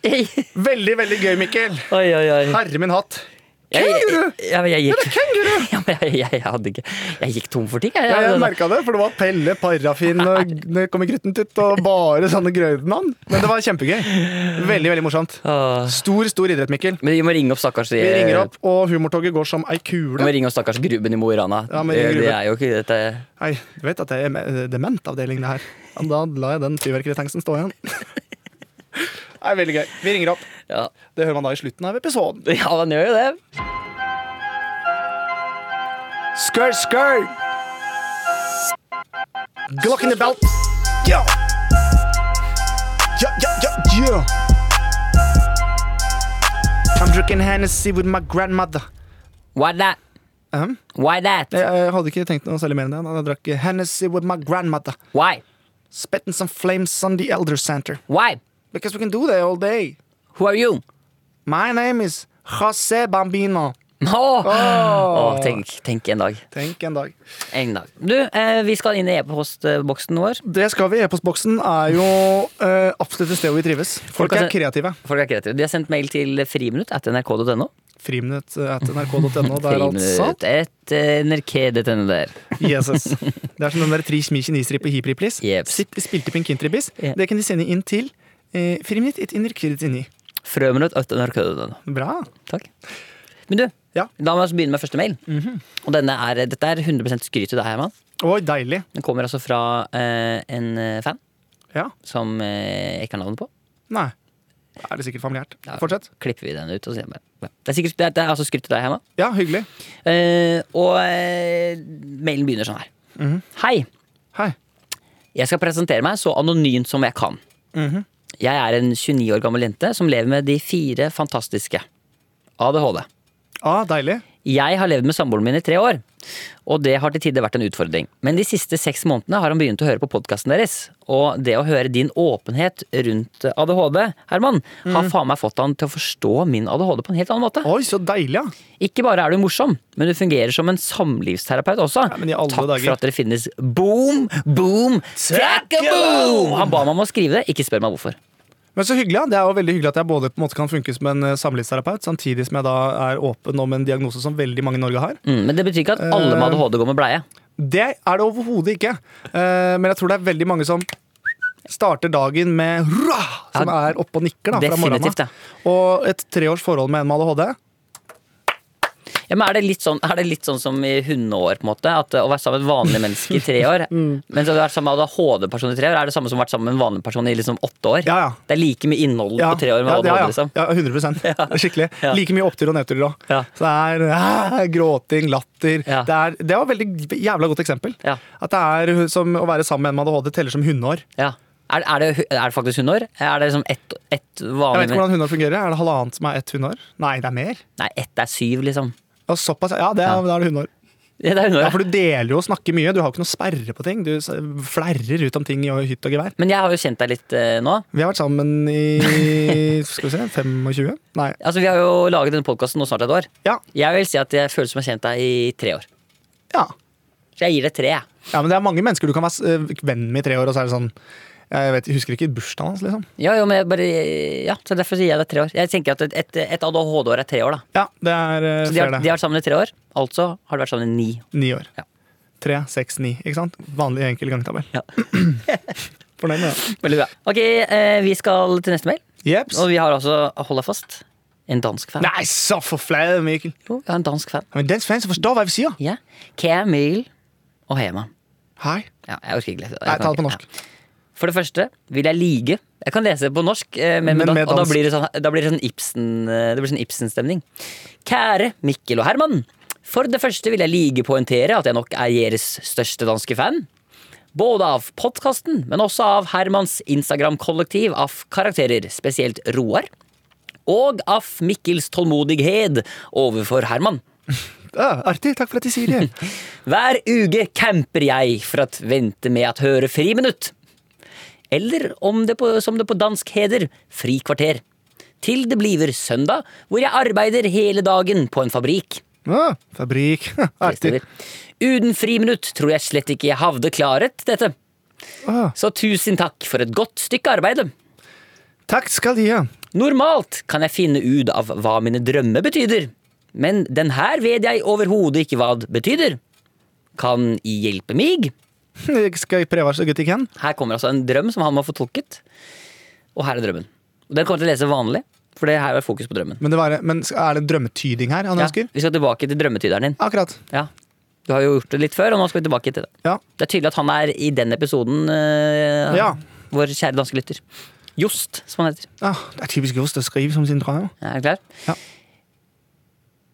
Speaker 3: Oi,
Speaker 2: Veldig, veldig gøy, Mikkel.
Speaker 3: oi, oi.
Speaker 2: Herre min hatt.
Speaker 3: Kenguru! Ja, men jeg gikk, ja, men jeg, jeg, jeg, hadde ikke, jeg gikk tom for ting. Jeg,
Speaker 2: Ja, jeg merka det, for det var Pelle, Parafin og det kom i grutten titt, og bare sånne grøydenavn. Men det var kjempegøy. Veldig, veldig morsomt.
Speaker 3: Åh.
Speaker 2: Stor, stor idrett, Mikkel.
Speaker 3: Men vi må ringe opp stakkars eh,
Speaker 2: Vi ringer opp, og humortoget går som ei
Speaker 3: Du må
Speaker 2: kule.
Speaker 3: ringe oss stakkars Gruben i Mo i Rana.
Speaker 2: Ja, men
Speaker 3: det,
Speaker 2: ring
Speaker 3: det
Speaker 2: Gruben.
Speaker 3: er jo ikke dette
Speaker 2: Nei, du vet at det er me- dementavdeling, det her. Ja, Da la jeg den fyrverkeritanksen stå igjen. Nei, veldig gøy. Vi ringer opp.
Speaker 3: Ja,
Speaker 2: Det hører man da i slutten av episoden.
Speaker 3: ja den gjør jo det.
Speaker 2: Skør, skør! Glock in the belt. Ja! Ja, ja, ja, ja! I'm drinking Hennessy with my grandmother.
Speaker 3: Why that?
Speaker 2: Ahem.
Speaker 3: Why that?
Speaker 2: Jeg, jeg hadde ikke tenkt noe særlig mer enn det. Jeg drakk Hennessy with my grandmother.
Speaker 3: Why?
Speaker 2: Spitting some flames on the elder center.
Speaker 3: Why?
Speaker 2: Because we can do that all day.
Speaker 3: Who are you?
Speaker 2: My name is José Bambino.
Speaker 3: Åh, Åh, tenk, tenk en dag.
Speaker 2: Tenk en dag.
Speaker 3: En dag. Du, eh, vi skal inn i e-postboksen vår.
Speaker 2: Det skal vi. E-postboksen er jo eh, absolutt et sted hvor vi trives. Folk er kreative.
Speaker 3: Folk er kreative. De har sendt mail til friminutt etter nrk.no.
Speaker 2: Friminutt eh, at nrk.no. Der altså.
Speaker 3: Friminutt eh, etter nrk.no der.
Speaker 2: Jesus. Det er som den der tri smi kinesere på Hipri, please.
Speaker 3: Yep.
Speaker 2: Sitt spilte på en kintribis.
Speaker 3: Ja.
Speaker 2: Det kan de sende inn til eh, friminutt, et innrykk, inni.
Speaker 3: Frøminutt at NRK.no.
Speaker 2: Bra.
Speaker 3: Takk. Men du,
Speaker 2: Ja. Mhm.
Speaker 3: la oss begynne med første mail. Og denne er, Dette er 100 skryt til deg, Herman.
Speaker 2: Oi, deilig.
Speaker 3: Den kommer altså fra eh, en eh, fan
Speaker 2: Ja.
Speaker 3: som eh, jeg ikke har navnet på.
Speaker 2: Nei. Da er det sikkert familiært.
Speaker 3: Da
Speaker 2: Fortsett.
Speaker 3: klipper vi den ut. Og sier, ja. det, er sikkert, det, er, det er altså skryt til deg, Herman.
Speaker 2: Ja, hyggelig.
Speaker 3: Eh, og eh, mailen begynner sånn her. Hei!
Speaker 2: Hei.
Speaker 3: Jeg skal presentere meg så anonymt som jeg kan. Jeg er en 29 år gammel jente som lever med de fire fantastiske. ADHD.
Speaker 2: Ah, deilig.
Speaker 3: Jeg har levd med samboeren min i tre år, og det har til tider vært en utfordring. Men de siste seks månedene har han begynt å høre på podkasten deres, og det å høre din åpenhet rundt ADHD, Herman,
Speaker 2: Mm.
Speaker 3: har faen meg fått han til å forstå min ADHD på en helt annen måte.
Speaker 2: Oi, så deilig, ja.
Speaker 3: Ikke bare er du morsom, men du fungerer som en samlivsterapeut også.
Speaker 2: men i alle
Speaker 3: Takk
Speaker 2: dager.
Speaker 3: for at dere finnes. Boom, boom, takka-boom! Han ba meg om å skrive det, ikke spør meg hvorfor.
Speaker 2: Men så hyggelig, ja. Det er jo veldig hyggelig at jeg både på en måte kan funke som en eh, samlivsterapeut, samtidig som jeg da er åpen om en diagnose som veldig mange i Norge har.
Speaker 3: Mm, men det betyr ikke at
Speaker 2: Eh.
Speaker 3: alle med ADHD går med bleie.
Speaker 2: Det er det overhodet ikke. Eh, Men jeg tror det er veldig mange som starter dagen med hurra, som
Speaker 3: Ja,
Speaker 2: er oppe og nikker da, fra
Speaker 3: definitivt,
Speaker 2: morgenen av. Og et treårs forhold med en med ADHD
Speaker 3: Ja, men er det, litt sånn, er det litt sånn som i hundeår, på en måte? At eh, å være sammen med et vanlig menneske i tre år,
Speaker 2: Mm.
Speaker 3: mens å være sammen med ADHD-person i tre år, er det samme som å være sammen med en vanlig person i liksom åtte år?
Speaker 2: Ja, ja.
Speaker 3: Det er like mye innhold på tre år med
Speaker 2: ja, ja,
Speaker 3: ADHD,
Speaker 2: ja.
Speaker 3: liksom?
Speaker 2: Ja, 100 Skikkelig.
Speaker 3: Ja.
Speaker 2: Like mye opptur og nedturer òg.
Speaker 3: Ja.
Speaker 2: Så det er ah, gråting, latter
Speaker 3: Ja.
Speaker 2: det, er, det var et veldig jævla godt eksempel.
Speaker 3: Ja.
Speaker 2: At det er som å være sammen med en med ADHD teller som hundeår.
Speaker 3: Ja. Er, er, det, er det faktisk hundeår? Er det liksom ett et
Speaker 2: Jeg vet
Speaker 3: vanlig
Speaker 2: ikke hvordan hundeår fungerer. Er det halvannet som er ett hundeår? Nei, det er mer.
Speaker 3: Nei, ett er syv, liksom.
Speaker 2: Ja, såpass. Ja, det, er-
Speaker 3: Ja.
Speaker 2: da er det hundeår.
Speaker 3: Ja, det er hundeår.
Speaker 2: Ja,
Speaker 3: Ja,
Speaker 2: for du deler jo og snakker mye. Du har jo ikke noe sperre på ting. Du s- flerrer ut om ting i hytt og gevær.
Speaker 3: Men jeg har jo kjent deg litt eh, nå.
Speaker 2: Vi har vært sammen i skal vi se, 25? Nei.
Speaker 3: Altså, Vi har jo laget denne podkasten nå snart et år.
Speaker 2: Ja.
Speaker 3: Jeg vil si at jeg føler som jeg har kjent deg i tre år.
Speaker 2: ja.
Speaker 3: Så jeg gir det tre. jeg.
Speaker 2: Ja, men det er mange mennesker du kan være s- eh, venn med i tre år, og så er det sånn Jeg vet, jeg husker ikke bursdagen hans, liksom.
Speaker 3: Ja, jo, men jeg bare, ja, så Derfor sier jeg det er tre år. Jeg tenker at Et, et ADHD-år er tre år. da
Speaker 2: Ja, det er eh,
Speaker 3: Så de
Speaker 2: fair,
Speaker 3: har, de
Speaker 2: det.
Speaker 3: har vært sammen i tre år. Altså har de vært sammen i ni.
Speaker 2: Ni år.
Speaker 3: Ja.
Speaker 2: Tre, seks, ni. Ikke sant? Vanlig enkel gangtabell.
Speaker 3: Ja.
Speaker 2: Fornøyd med det.
Speaker 3: Veldig bra. Ok, eh, Vi skal til neste mail.
Speaker 2: Jeps.
Speaker 3: Og vi har altså, hold deg fast, en dansk fan.
Speaker 2: Nei, så for flau, Mikkel!
Speaker 3: Jo, vi har en dansk fan.
Speaker 2: Men den fans forstår hva vi sier.
Speaker 3: Ja. Camille og Hema.
Speaker 2: Hei.
Speaker 3: Ja, jeg orker ikke lese. Jeg
Speaker 2: Nei,
Speaker 3: kan
Speaker 2: ta det på
Speaker 3: ikke-
Speaker 2: norsk.
Speaker 3: Ja. For det første vil jeg lige Jeg kan lese det på norsk, eh, men,
Speaker 2: Men
Speaker 3: da,
Speaker 2: med
Speaker 3: og da
Speaker 2: dansk.
Speaker 3: blir det sånn, da blir det sånn Ibsen eh, Det blir sånn Ibsen-stemning. Kjære Mikkel og Herman. For det første vil jeg lige poengtere at jeg nok er deres største danske fan. Både av podkasten, men også av Hermans Instagram-kollektiv av karakterer, spesielt Roar. Og av Mikkels tålmodighet overfor Herman.
Speaker 2: Ja, artig. Takk for at de sier det.
Speaker 3: Hver uke camper jeg for å vente med å høre friminutt. Eller om det på, som det på dansk heder, frikvarter. Til det bliver søndag, hvor jeg arbeider hele dagen på en fabrikk.
Speaker 2: Ah, fabrikk. Artig.
Speaker 3: Uten friminutt tror jeg slett ikke jeg havde klaret dette.
Speaker 2: Ah.
Speaker 3: Så tusen takk for et godt stykke arbeid.
Speaker 2: Takk skal de ha.
Speaker 3: Normalt kan jeg finne ut av hva mine drømmer betyder, men den her vet jeg overhodet ikke hva det betyder. Kan I hjelpe mig?
Speaker 2: Jeg skal prøve så godt jeg kan.
Speaker 3: Her kommer altså en drøm som han må få tolket. Og her er drømmen. Og Den kommer jeg til å lese vanlig, for det her er fokus på drømmen.
Speaker 2: Men, det var, men skal- er det drømmetyding her han
Speaker 3: Ja,
Speaker 2: ønsker?
Speaker 3: vi skal tilbake til drømmetyderen din.
Speaker 2: Akkurat.
Speaker 3: Ja. Du har jo gjort det litt før, og nå skal vi tilbake til det.
Speaker 2: Ja.
Speaker 3: Det er tydelig at han er i den episoden, eh,
Speaker 2: Ja.
Speaker 3: vår kjære danske lytter. Jost, som han heter.
Speaker 2: Ah, det er typisk Johs å skrive som sin drøm.
Speaker 3: Er du klar?
Speaker 2: Ja.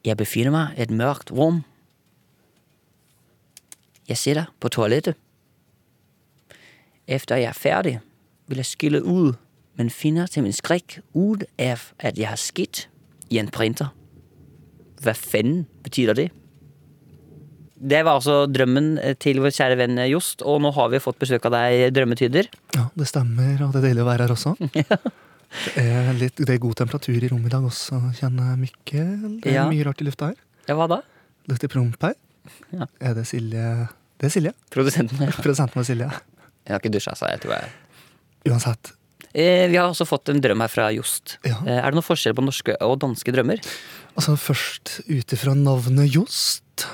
Speaker 3: Jeg befinner meg i et mørkt rom. Jeg sitter på toalettet. Efter jeg er ferdig, vil jeg skille ud, men finner til min skræk ud af, at jeg har skidt i en printer. Hvad fanden betyder det? Det var altså drømmen til vår kjære venn Jost, og nå har vi fått besøk av deg, drømmetyder.
Speaker 2: Ja, det stemmer, og det er deilig å være her også. Det er, litt, det er god temperatur i rommet i dag også, kjenner jeg, Mikkel. Det er
Speaker 3: Ja.
Speaker 2: mye rart i lufta her.
Speaker 3: Ja, hva da?
Speaker 2: Lukter promp her.
Speaker 3: Ja.
Speaker 2: Er det Silje? Det er Silje.
Speaker 3: Produsenten. Jeg
Speaker 2: Produsenten vår Silje.
Speaker 3: har ikke dusja, så jeg tror jeg
Speaker 2: Uansett.
Speaker 3: Eh, Vi har også fått en drøm her fra Jost.
Speaker 2: Ja.
Speaker 3: Eh, Er det noen forskjell på norske og danske drømmer?
Speaker 2: Altså Først ut ifra navnet Jost,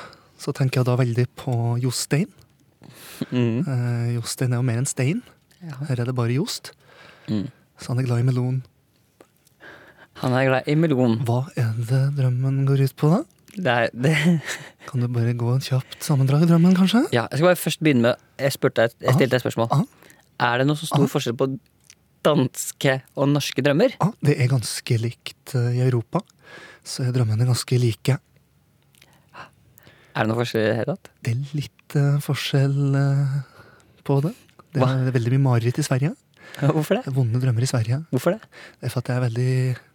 Speaker 2: så tenker jeg da veldig på Jostein.
Speaker 3: Mm. Mm.
Speaker 2: Eh, Jostein er jo mer enn stein. Her er det bare Jost. så han er glad i melon.
Speaker 3: Han er glad i melon.
Speaker 2: Hva er det drømmen går ut på, da?
Speaker 3: Det er, det,
Speaker 2: Kan du bare gå en kjapt sammendrag i drømmen, kanskje?
Speaker 3: ja, jeg skal bare først begynne med Jeg, spurte, deg- jeg stilte deg et spørsmål.
Speaker 2: Aha.
Speaker 3: Er det noe så stor forskjell på danske og norske drømmer?
Speaker 2: Ja, det er ganske likt eh, i Europa. Så er drømmene ganske like.
Speaker 3: Er det noe forskjell i det hele tatt?
Speaker 2: Det er litt eh, forskjell eh, på det. Det
Speaker 3: Hva?
Speaker 2: er veldig mye mareritt i Sverige.
Speaker 3: Hvorfor
Speaker 2: Det
Speaker 3: det?
Speaker 2: er vonde drømmer i Sverige.
Speaker 3: Hvorfor det?
Speaker 2: Det er for at det er veldig,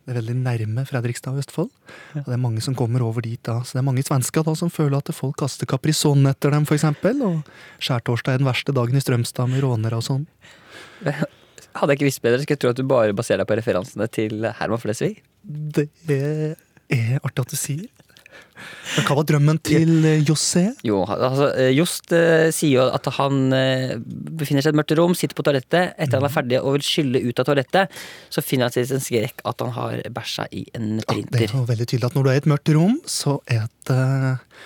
Speaker 2: det er veldig nærme Fredrikstad og Østfold. Og det er mange som kommer over dit da. Så det er mange svensker da som føler at folk kaster Caprisonne etter dem, f.eks. Og skjærtorsdag er den verste dagen i Strømstad med rånere og sånn.
Speaker 3: Hadde jeg ikke visst bedre, skulle jeg tro at du bare baserer deg på referansene til Herman Flesvig.
Speaker 2: Det er er artig at du sier. Men hva var drømmen til eh, José?
Speaker 3: Jo, altså, eh, Jost eh, sier jo at han eh, befinner seg i et mørkt rom, sitter på toalettet. Etter han
Speaker 2: Mhm.
Speaker 3: er ferdig og vil skylle ut av toalettet, så finner han seg i en skrekk at han har bæsja i
Speaker 2: Ah,
Speaker 3: en
Speaker 2: Det er
Speaker 3: printer.
Speaker 2: jo veldig tydelig at når du er i et mørkt rom, så er det eh,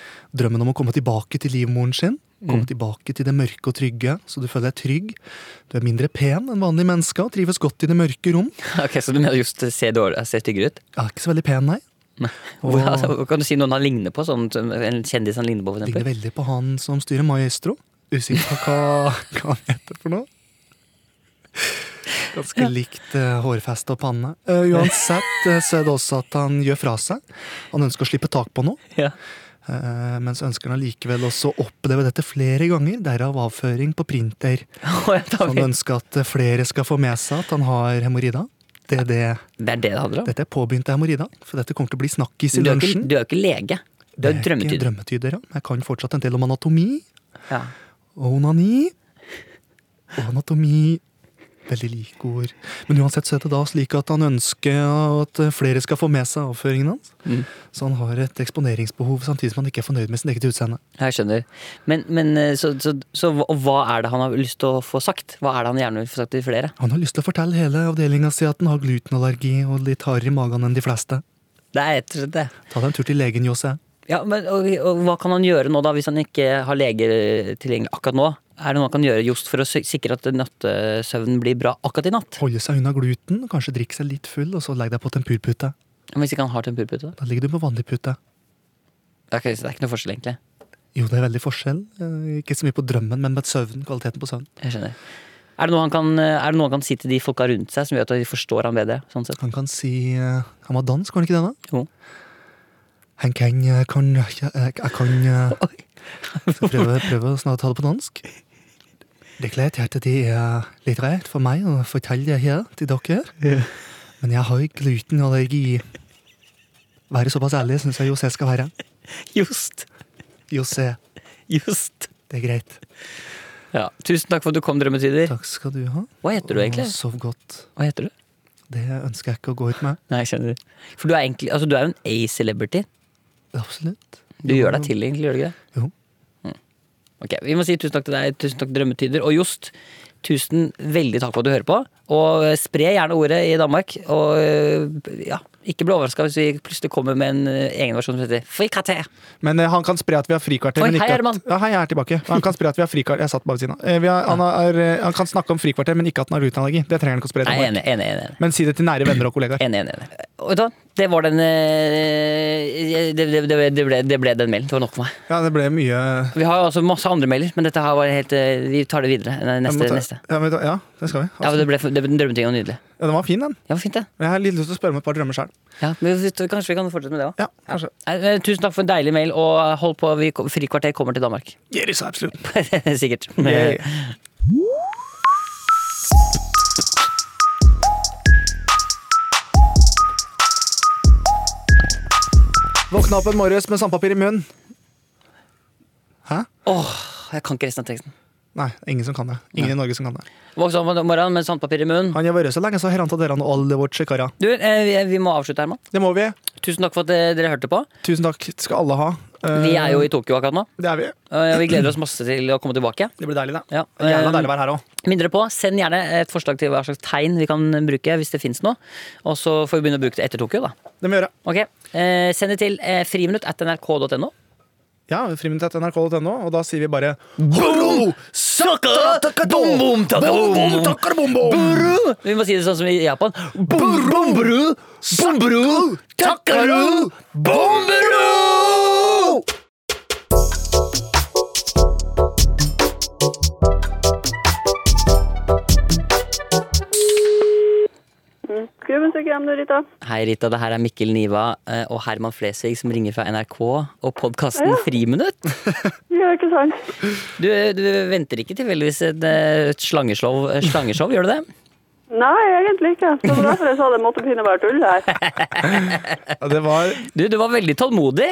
Speaker 2: drømmen om å komme tilbake til livmoren sin. Komme tilbake til det mørke og trygge, så du føler deg trygg. Du er mindre pen enn vanlige mennesker og trives godt i det mørke rom.
Speaker 3: Ok, Så du mener Jost ser, dårlig, ser styggere ut?
Speaker 2: Jeg er ikke så veldig pen, nei.
Speaker 3: Hvor, altså, kan du si noen han ligner på? Sånn, som en kjendis han ligner på, for
Speaker 2: Ligner
Speaker 3: eksempel?
Speaker 2: veldig på han som styrer Maestro. Usikker på hva, hva han heter for noe. Ganske likt eh, hårfeste og panne. Eh, uansett eh, så er det også at han gjør fra seg. Han ønsker å slippe tak på noe.
Speaker 3: Ja.
Speaker 2: Eh, men så ønsker han allikevel også å oppleve dette flere ganger, derav avføring på printer.
Speaker 3: Å, ja, da
Speaker 2: Han
Speaker 3: vet-
Speaker 2: ønsker at eh, flere skal få med seg at han har hemoroida. Det er det.
Speaker 3: Det er det det handler om.
Speaker 2: Dette er påbegynte hemoroida, for dette kommer til å bli snakkis i
Speaker 3: Du er ikke,
Speaker 2: lunsjen.
Speaker 3: du er ikke lege. Du er
Speaker 2: Jeg
Speaker 3: drømmetyder.
Speaker 2: drømmetyder, ja. Jeg kan fortsatt en del om anatomi
Speaker 3: Ja.
Speaker 2: og onani. Og anatomi Veldig like ord. Men uansett så er det da slik at han ønsker at flere skal få med seg avføringen hans. Så han har et eksponeringsbehov samtidig som han ikke er fornøyd med sin eget utseende.
Speaker 3: Jeg skjønner. Men, men eh, så, så, så hva- og hva er det han har lyst til å få sagt? Hva er det han gjerne vil få sagt til flere?
Speaker 2: Han har lyst til å fortelle hele avdelinga si at han har glutenallergi og litt hardere i magen enn de fleste.
Speaker 3: Det er rett og slett det.
Speaker 2: Ta deg en tur til legen, Jose.
Speaker 3: Ja, men og, og Hva kan han gjøre nå, da, hvis han ikke har lege tilgjengelig akkurat nå? Er det noe han kan gjøre just for å si- sikre at nattesøvnen blir bra akkurat i natt?
Speaker 2: Holde seg unna gluten, kanskje drikke seg litt full, og så legge deg på tempurpute.
Speaker 3: Men Hvis ikke han har tempurpute? da?
Speaker 2: Da ligger du på vanlig pute.
Speaker 3: Ok, så det er ikke noe forskjell, egentlig.
Speaker 2: Jo, det er veldig forskjell. Eh, Ikke så mye på drømmen, men med søvnen, kvaliteten på søvnen.
Speaker 3: Jeg skjønner. Er det noe han kan, er det noe han kan si til de folka rundt seg, som gjør at de forstår han bedre? sånn sett?
Speaker 2: Han kan si eh, Han var dansk, var han ikke det, da?
Speaker 3: Jo.
Speaker 2: Han kan eh, kan Jeg jeg kan eh, så prøve, prøve å snart ta det på dansk. Det gleder jeg til det er litt rart for meg å fortelle det her til dere. Men jeg har glutenallergi. Være såpass ærlig syns jeg José skal være.
Speaker 3: Just.
Speaker 2: José,
Speaker 3: Just.
Speaker 2: det er greit.
Speaker 3: Ja. Tusen takk for at du kom, Drømmetyder.
Speaker 2: Takk skal du ha.
Speaker 3: Hva heter du egentlig?
Speaker 2: Og Sov godt.
Speaker 3: Hva heter du?
Speaker 2: Det ønsker jeg ikke å gå ut med.
Speaker 3: Nei, jeg skjønner. For du er egentlig, altså du er jo en A-celebrity.
Speaker 2: Absolutt.
Speaker 3: Du gjør deg til, egentlig, gjør du ikke det?
Speaker 2: Jo.
Speaker 3: Mm. Ok, Vi må si tusen takk til deg, tusen takk Drømmetyder. Og Jost, tusen veldig takk for at du hører på. Og eh, spre gjerne ordet i Danmark. Og eh, ja, ikke bli overraska hvis vi plutselig kommer med en eh, egen versjon som heter Frikate.
Speaker 6: Men eh, han kan spre at vi har frikvarter.
Speaker 3: Oi,
Speaker 6: men ikke
Speaker 3: hei,
Speaker 6: at-
Speaker 3: Herman.
Speaker 6: Ja, hei, jeg er tilbake. Han kan spre at vi har frikvarter. Jeg satt bare ved siden av. Eh, Vi har, han, har, eh, han kan snakke om frikvarter, men ikke at han har glutenallergi. Det trenger han ikke å spre.
Speaker 3: Nei,
Speaker 6: til meg.
Speaker 3: enig, enig, enig. enig.
Speaker 6: Men si det til nære venner og kollegaer.
Speaker 3: Enig, enig, enig. Og vet du hva? Det var den eh, det, det, det, det, ble, det ble den mailen. Det var nok for meg.
Speaker 6: Ja, det ble mye
Speaker 3: Vi har altså masse andre mailer, men dette her var helt eh, Vi tar det videre. Nei,
Speaker 6: Jeg må
Speaker 3: Neste.
Speaker 6: ta-
Speaker 3: neste.
Speaker 6: Ja, men, da- ja, det skal vi.
Speaker 3: Ja,
Speaker 6: Ja,
Speaker 3: det ble det ble en drømmeting og nydelig.
Speaker 6: den var fin, den.
Speaker 3: Ja, fint det.
Speaker 6: Men Jeg har litt lyst til å spørre om et par drømmer sjøl.
Speaker 3: Ja, men vi- kanskje vi kan fortsette med det òg.
Speaker 6: Ja, kanskje.
Speaker 3: eh, Tusen takk for en deilig mail, og eh, hold på. Vi, kom- frikvarter kommer til Danmark.
Speaker 6: Yes, absolutt.
Speaker 3: Sikkert.
Speaker 6: Yay.
Speaker 2: Våkna opp en morges med sandpapir i munnen.
Speaker 3: Åh, jeg kan ikke resten av teksten.
Speaker 2: Nei, ingen som kan det. Ingen i Norge som kan det.
Speaker 3: Våkne opp om morgenen med sandpapir i munnen.
Speaker 2: Han har vært så lenge, så har han tatt dere og alle vårt sjekara.
Speaker 3: Du, eh, vi, vi må avslutte, Herman.
Speaker 2: Det må vi.
Speaker 3: Tusen takk for at eh, dere hørte på.
Speaker 2: Tusen takk skal alle ha. Eh,
Speaker 3: Vi er jo i Tokyo akkurat nå, Eh,
Speaker 2: Det er vi.
Speaker 3: og vi gleder oss masse til å komme tilbake.
Speaker 2: Det blir deilig, det.
Speaker 3: Ja,
Speaker 2: Jævla
Speaker 3: eh,
Speaker 2: deilig å være her òg.
Speaker 3: Minn dere på, Send gjerne et forslag til hva slags tegn vi kan bruke, hvis det fins noe. Og så får vi begynne å bruke det etter Tokyo, da.
Speaker 2: Det må vi gjøre.
Speaker 3: Ok, eh, Send det til eh, friminutt at nrk.no.
Speaker 2: Ja, friminutt.nrk.no, og da sier vi bare
Speaker 3: Buru! Vi må si det sånn som i Japan. Bum, bum, bru, bum, bru, takkaru, bum, bru!
Speaker 5: Skrubbensykehjem, du, Rita.
Speaker 3: Hei, Rita. Det her er Mikkel Niva eh, og Herman Flesvig som ringer fra NRK og podkasten Friminutt.
Speaker 5: Ja, ikke sant?
Speaker 3: Du, du venter ikke tilfeldigvis et, eh, et slangeshow, slangeshow, gjør du det?
Speaker 5: Nei, egentlig ikke. Det var derfor jeg sa det måtte kunne være tull her.
Speaker 2: Ja, Det var
Speaker 3: Du, du var veldig tålmodig.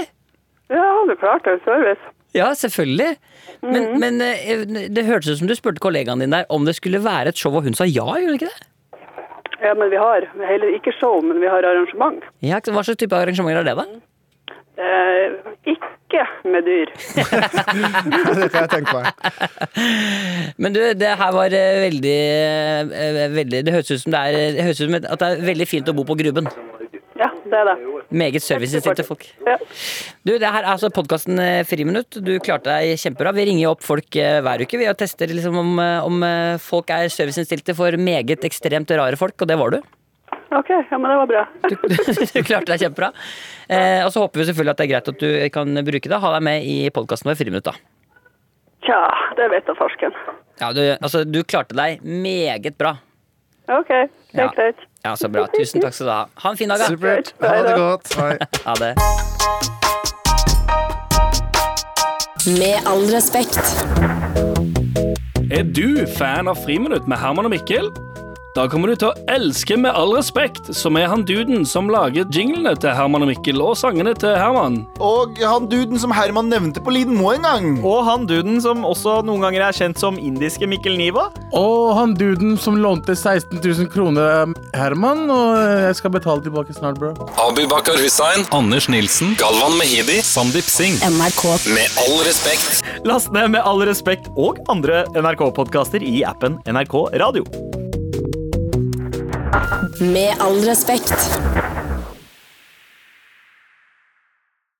Speaker 5: Ja, hadde klart det. Service.
Speaker 3: Ja, selvfølgelig. Men, men, eh, det hørtes ut som du spurte kollegaen din der om det skulle være et show, og hun sa ja, gjorde hun ikke det?
Speaker 5: Ja, men vi har heller ikke show, men vi har arrangement.
Speaker 3: Ja, Hva slags type arrangementer er det, da?
Speaker 5: Eh, ikke med dyr.
Speaker 2: det kan jeg tenke meg.
Speaker 3: Men du, det her var eh, veldig, eh, veldig Det høres ut som det er det høres ut som et- at det er veldig fint å bo på Grubben.
Speaker 5: Ja, det er det.
Speaker 3: Meget serviceinnstilte folk.
Speaker 5: Ja.
Speaker 3: Du, det her er altså podkasten Friminutt. Du klarte deg kjempebra. Vi ringer jo opp folk eh, hver uke. Vi har tester liksom om, eh, om eh, folk er serviceinnstilte for meget ekstremt rare folk, og det var du.
Speaker 5: OK, ja, men det var bra.
Speaker 3: Du, du klarte deg kjempebra. Eh, og så håper vi selvfølgelig at det er greit at du kan bruke det. Ha deg med i podkasten vår Friminutt, da.
Speaker 5: Tja, det vet da farsken.
Speaker 3: Ja, du, altså, du klarte deg meget bra.
Speaker 5: OK, det
Speaker 3: Ja.
Speaker 5: er greit.
Speaker 3: Ja, så bra. Tusen takk skal du ha. Ha en fin dag, da.
Speaker 2: Supert. Ha det godt. Hei.
Speaker 3: Ha det.
Speaker 1: Med all respekt.
Speaker 7: Er du fan av Friminutt med Herman og Mikkel? Da kommer du til å elske Med all respekt, som er han duden som lager jinglene til Herman og Mikkel og sangene til Herman.
Speaker 8: Og han duden som Herman nevnte på Lidenmo en gang.
Speaker 9: Og han duden som også noen ganger er kjent som indiske Mikkel Niva.
Speaker 10: Og han duden som lånte 16 000 kroner av Herman, og jeg skal betale tilbake snart, bro.
Speaker 11: Abubakar Hussein, Anders Nilsen, Galvan Mehidi, Sandeep Singh.
Speaker 1: NRK.
Speaker 11: Med all respekt.
Speaker 9: Last ned med all respekt og andre NRK-podkaster i appen NRK Radio.
Speaker 1: Med all respekt.